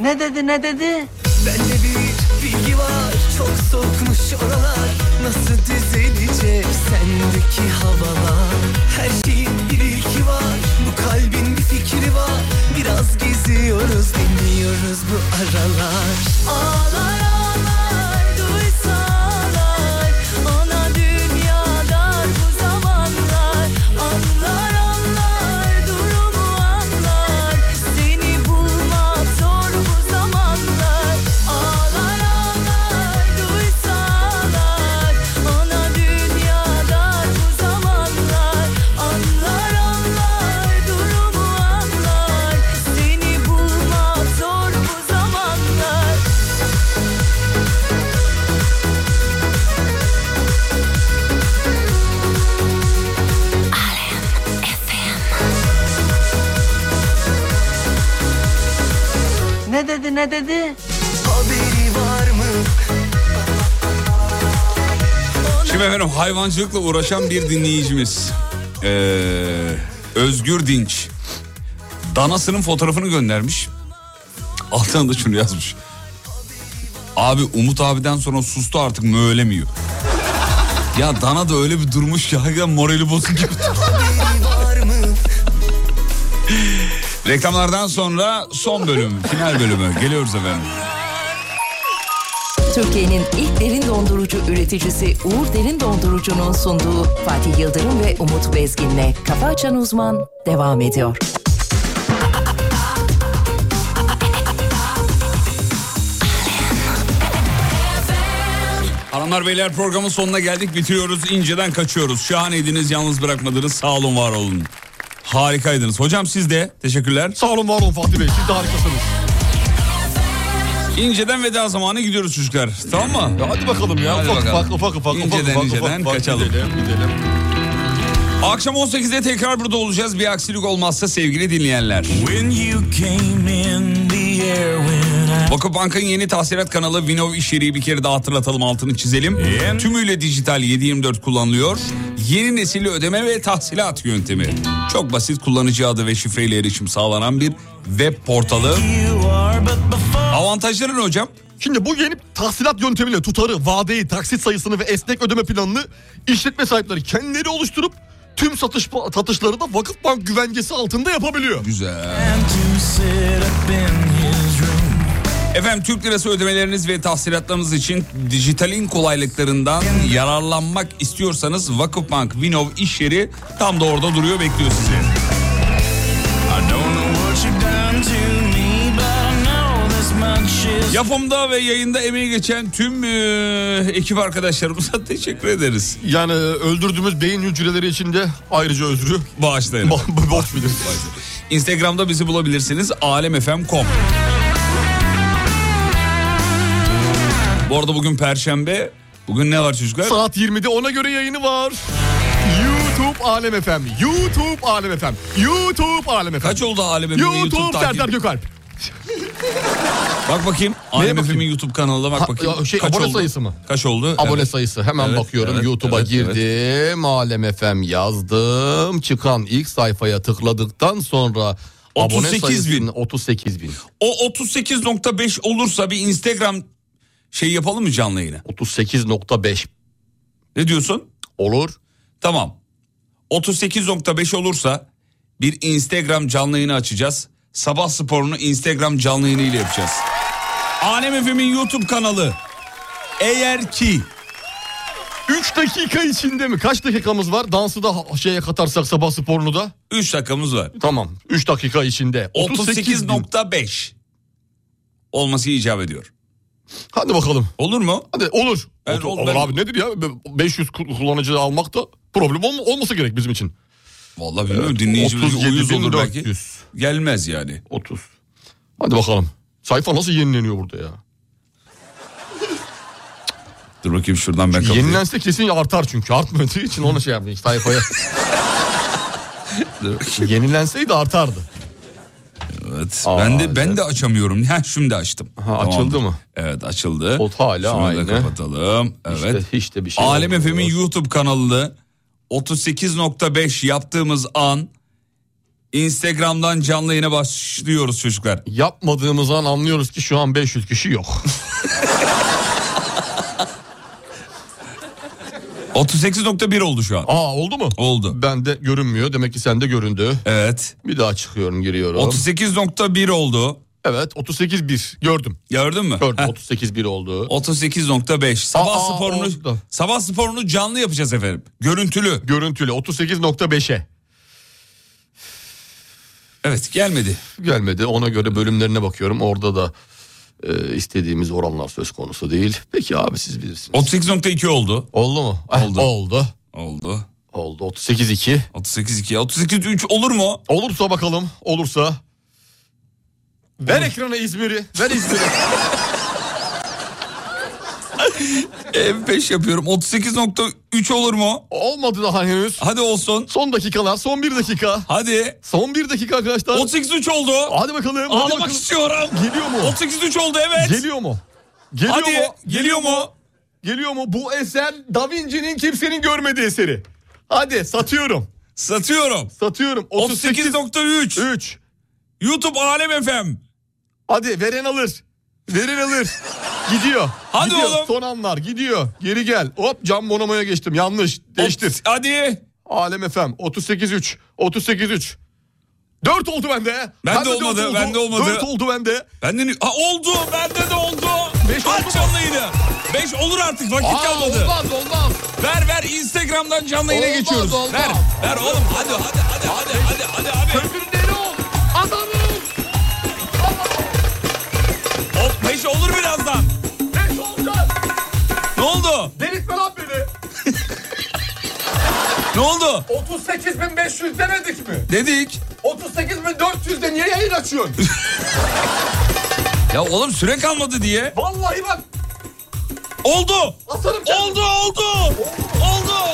S16: Ne dedi ne dedi?
S17: Bende bir bilgi var Çok soğukmuş oralar Nasıl düzelecek sendeki havalar Her şeyin bir ilki var Bu kalbin bir fikri var Biraz geziyoruz dinliyoruz bu aralar
S9: Ağlar ağlar duysalar Ana dünyadan bu zamanlar Anlar anlar durumu anlar Seni bulmak zor bu zamanlar Ağlar ağlar duysalar Ana dünyadan bu zamanlar Anlar anlar durumu anlar Seni bulmak zor bu zamanlar
S16: Ne dedi ne dedi?
S17: Haberi var mı
S3: Şimdi efendim hayvancılıkla uğraşan bir dinleyicimiz. Ee, Özgür Dinç. Danasının fotoğrafını göndermiş. Altına da şunu yazmış. Abi Umut abiden sonra sustu artık möğlemiyor. ya dana da öyle bir durmuş ki hakikaten morali bozuk gibi. Reklamlardan sonra son bölüm, final bölümü. Geliyoruz efendim.
S6: Türkiye'nin ilk derin dondurucu üreticisi Uğur Derin Dondurucu'nun sunduğu Fatih Yıldırım ve Umut Bezgin'le Kafa Açan Uzman devam ediyor.
S3: Hanımlar beyler programın sonuna geldik bitiriyoruz inceden kaçıyoruz. Şahaneydiniz yalnız bırakmadınız sağ olun var olun. Harikaydınız. Hocam siz de teşekkürler. Sağ olun var olun Fatih Bey siz de harikasınız. İnceden veda zamanı gidiyoruz çocuklar. Tamam mı? hadi bakalım
S4: ya, ufak ufak, ufak ufak, ufak
S3: İnceden
S4: ufak,
S3: inceden
S4: ufak, ufak
S3: kaçalım.
S4: gidelim,
S3: Akşam 18'de tekrar burada olacağız. Bir aksilik olmazsa sevgili dinleyenler. Vakıfbank'ın yeni tahsilat kanalı Vinov içeriği bir kere daha hatırlatalım altını çizelim. Tümüyle dijital 7.24 kullanılıyor. Yeni nesil ödeme ve tahsilat yöntemi. Çok basit kullanıcı adı ve şifreyle erişim sağlanan bir web portalı. Avantajları ne hocam?
S4: Şimdi bu yeni tahsilat yöntemiyle tutarı, vadeyi, taksit sayısını ve esnek ödeme planını işletme sahipleri kendileri oluşturup tüm satış satışları da Vakıfbank güvencesi altında yapabiliyor.
S3: Güzel. Efendim Türk Lirası ödemeleriniz ve tahsilatlarınız için dijitalin kolaylıklarından yararlanmak istiyorsanız Vakıfbank Vinov iş yeri tam da orada duruyor bekliyor sizi. Yapımda ve yayında emeği geçen tüm e, ekip arkadaşlarımıza <laughs> teşekkür ederiz.
S4: Yani e, öldürdüğümüz beyin hücreleri için de ayrıca özrü
S3: bağışlayın.
S4: Borç biliriz.
S3: Instagram'da bizi bulabilirsiniz alemfm.com. Bu arada bugün perşembe. Bugün ne var çocuklar?
S4: Saat 20'de ona göre yayını var. YouTube Alem FM. YouTube Alem FM. YouTube Alem FM.
S3: Kaç oldu Alem FM 'de
S4: YouTube,
S3: YouTube takip?
S4: Serdar Gökalp.
S3: Bak bakayım.
S4: Neye
S3: Alem
S4: bakayım?
S3: FM'in YouTube kanalına bak
S4: Ha,
S3: bakayım.
S4: ya şey, abone sayısı mı?
S3: Kaç oldu?
S4: Abone
S3: Evet.
S4: sayısı. Hemen
S3: Evet,
S4: bakıyorum.
S3: evet,
S4: YouTube'a
S3: evet, evet.
S4: girdim. Alem FM yazdım. Çıkan ilk sayfaya tıkladıktan sonra
S3: 38 bin.
S4: abone sayısının 38 bin.
S3: O 38.5 olursa bir Instagram şey yapalım mı canlı yayına?
S4: 38.5.
S3: Ne diyorsun?
S4: Olur.
S3: Tamam. 38.5 olursa bir Instagram canlı yayını açacağız. Sabah sporunu Instagram canlı yayını ile yapacağız. Alem FM'in YouTube kanalı. Eğer ki
S4: 3 dakika içinde mi? Kaç dakikamız var? Dansı da ha- şeye katarsak sabah sporunu da.
S3: 3 dakikamız var.
S4: Tamam. 3 dakika içinde. 38 bin.
S3: 38.5 olması icap ediyor.
S4: Hadi bakalım.
S3: Olur mu?
S4: Hadi olur.
S3: Ben-
S4: Olur-
S3: ol-
S4: olur
S3: ben-
S4: abi nedir ya? Be- 500 ku- kullanıcı almak da problem olma- olması gerek bizim için.
S3: Vallahi bilmiyorum dinleyicilerimiz uyuz olur belki. Gelmez yani.
S4: 30. Hadi bakalım. Sayfa nasıl yenileniyor burada ya?
S3: Dur bakayım şuradan ben kapatayım.
S4: Yenilense kesin artar çünkü. Artmadığı için ona şey yapmayın
S3: <laughs>
S4: sayfaya. Yenilenseydi artardı.
S3: Evet. ben de ben de açamıyorum. Ha şimdi açtım.
S4: açıldı mı?
S3: Evet açıldı.
S4: O hala
S3: Şunu
S4: aynı.
S3: da kapatalım. Evet.
S4: İşte hiç de bir şey
S3: Alem
S4: olmuyor.
S3: FM'in YouTube kanalını 38.5 yaptığımız an
S4: Instagram'dan canlı yayına başlıyoruz çocuklar.
S5: Yapmadığımız an anlıyoruz ki şu an 500 kişi
S3: <laughs>
S5: yok.
S4: 38.1 oldu şu an.
S5: Aa oldu mu?
S4: Oldu.
S5: Bende görünmüyor. Demek ki sende göründü.
S4: Evet.
S5: Bir daha çıkıyorum giriyorum.
S4: 38.1 oldu.
S5: Evet 38.1 gördüm.
S4: Gördün mü?
S5: Gördüm 38.1 oldu.
S4: 38.5. Sabah
S5: Aa,
S4: sporunu
S5: oldu.
S4: sabah sporunu canlı yapacağız efendim. Görüntülü.
S5: Görüntülü 38.5'e.
S4: Evet gelmedi.
S5: Gelmedi ona göre bölümlerine bakıyorum. Orada da e, istediğimiz oranlar söz konusu değil. Peki abi siz bilirsiniz.
S4: 38.2 oldu.
S5: Oldu mu? Eh,
S4: Oldu.
S5: Oldu.
S4: Oldu.
S5: Oldu 38.2.
S4: 38.2. 38.3 olur mu?
S5: Olursa bakalım olursa. Ver ekrana İzmir'i. Ver İzmir'i.
S4: M5 yapıyorum. 38.3 olur mu?
S5: Olmadı daha henüz.
S4: Hadi olsun.
S5: Son dakikalar son bir dakika.
S4: Hadi.
S5: Son bir dakika arkadaşlar.
S4: 38.3 oldu.
S5: Hadi bakalım. hadi
S4: Ağlamak
S5: bakalım.
S4: istiyorum.
S5: Geliyor mu?
S4: 38.3 oldu evet.
S5: Geliyor mu? Geliyor
S4: Hadi,
S5: mu?
S4: geliyor mu?
S5: Geliyor mu? Bu eser Da Vinci'nin kimsenin görmediği eseri. Hadi satıyorum.
S4: Satıyorum.
S5: Satıyorum. 38.
S4: 38.3.
S5: 3.
S4: YouTube Alem FM.
S5: Hadi veren alır. Veren alır. Gidiyor.
S4: Hadi
S5: Gidiyor.
S4: oğlum.
S5: Son anlar gidiyor. Geri gel. Hop cam bonomoya geçtim. Yanlış. Değiştir.
S4: Hadi.
S5: Alem FM 38.3. 38.3. 4 oldu bende.
S4: Bende
S5: dört
S4: olmadı, bende olmadı.
S5: 4 oldu bende.
S4: Bende ne- ha, oldu. Bende de oldu.
S5: Beş oldu mu?
S4: Aç canlı yayını. 5 olur artık vakit
S5: Aa,
S4: kalmadı.
S5: Olmaz olmaz.
S4: Ver ver Instagram'dan canlı yayına
S5: Olmaz,
S4: geçiyoruz.
S5: olmaz.
S4: Ver ver oğlum hadi hadi hadi hadi hadi hadi abi.
S5: Ömürleri ol. Adamım.
S4: Hop 5 olur birazdan.
S5: 5 olacağız.
S4: Ne oldu?
S5: Delirtme lan beni.
S4: Ne oldu?
S5: 38.500 demedik mi?
S4: Dedik.
S5: 38.400'de niye yayın açıyorsun?
S4: <laughs> Ya oğlum süre kalmadı diye.
S5: Vallahi bak
S4: Oldu.
S5: atarım kendimi.
S4: Oldu oldu. Oldu.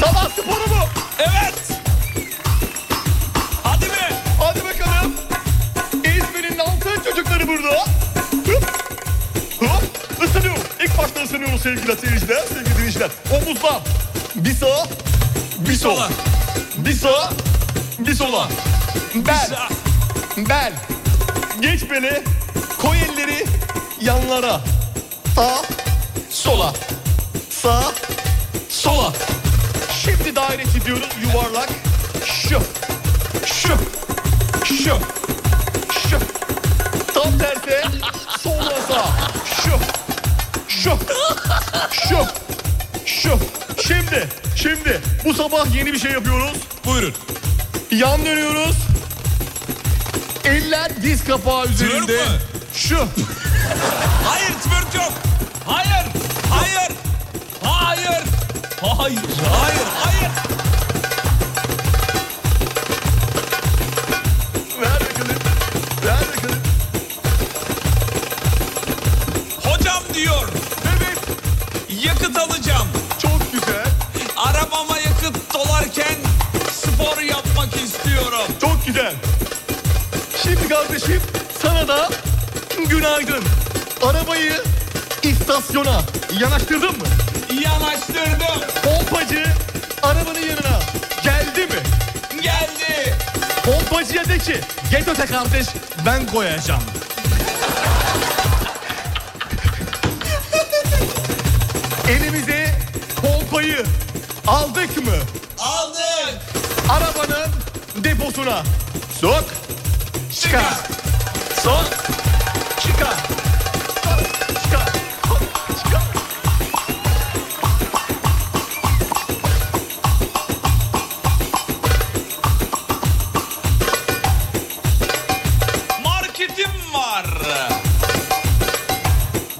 S5: Sabah sporu mu?
S4: Evet. Hadi be.
S5: Hadi bakalım. İzmir'in altın çocukları burada. Hıp. Hıp. Isınıyorum. İlk başta ısınıyorum sevgili seyirciler, sevgili dinleyiciler. Omuzdan. Bir sağa, bir sola. Bir sağa, bir sola. Bel, bel. Geç beni. Koy elleri yanlara. Sağ, sola. Sağ, sola. Şimdi daire çiziyoruz yuvarlak. Şu, şu, şu, şu. Tam tersi sola sağ. Şu, şu, şu, şu. Şimdi, şimdi bu sabah yeni bir şey yapıyoruz.
S4: Buyurun.
S5: Yan dönüyoruz. Eller diz kapağı üzerinde.
S4: Twerk mü?
S5: Şu.
S4: Hayır twerk yok. Hayır. Hayır. Hayır. Hayır. Hayır. Hayır.
S5: Ver bakalım. Ver bakalım.
S4: Hocam diyor.
S5: Evet.
S4: Yakıt alacağım.
S5: Çok güzel.
S4: Arabama yakıt dolarken spor yapmak istiyorum.
S5: Çok güzel. Şimdi kardeşim sana da günaydın. Arabayı istasyona yanaştırdın mı?
S4: Yanaştırdım.
S5: Pompacı arabanın yanına geldi mi?
S4: Geldi.
S5: Pompacıya de ki get öte kardeş ben
S4: <laughs>
S5: koyacağım. Elimize pompayı aldık mı?
S4: Aldık.
S5: Arabanın deposuna sok çıkar. Sok çıkar. Sok, Çıkar. Sok, Çıkar.
S4: Marketim var.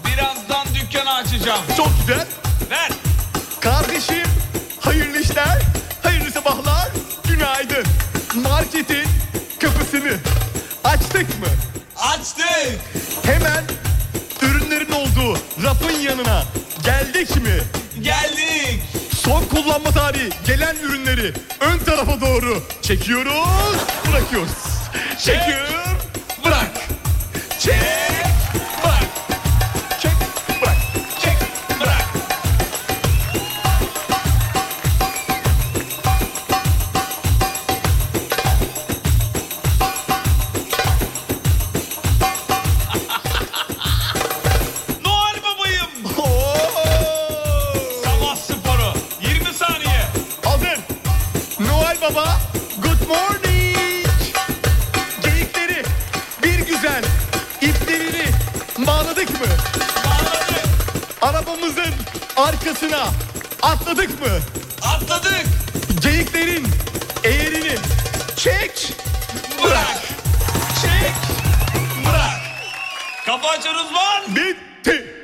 S4: Birazdan dükkanı açacağım.
S5: Çok güzel.
S4: Ver.
S5: Kardeşim hayırlı işler, hayırlı sabahlar, günaydın. Marketin kapısını açtık mı?
S4: Açtık.
S5: Hemen ürünlerin olduğu rafın yanına geldik mi?
S4: Geldik.
S5: Son kullanma tarihi gelen ürünleri ön tarafa doğru çekiyoruz, bırakıyoruz. Çekiyor, bırak. Çek, bırak. Çek, bırak. Çek, <laughs> bırak. arkasına atladık mı? Atladık. Geyiklerin eğerini çek bırak. Çek bırak.
S18: Kafa açarız lan.
S5: Bitti.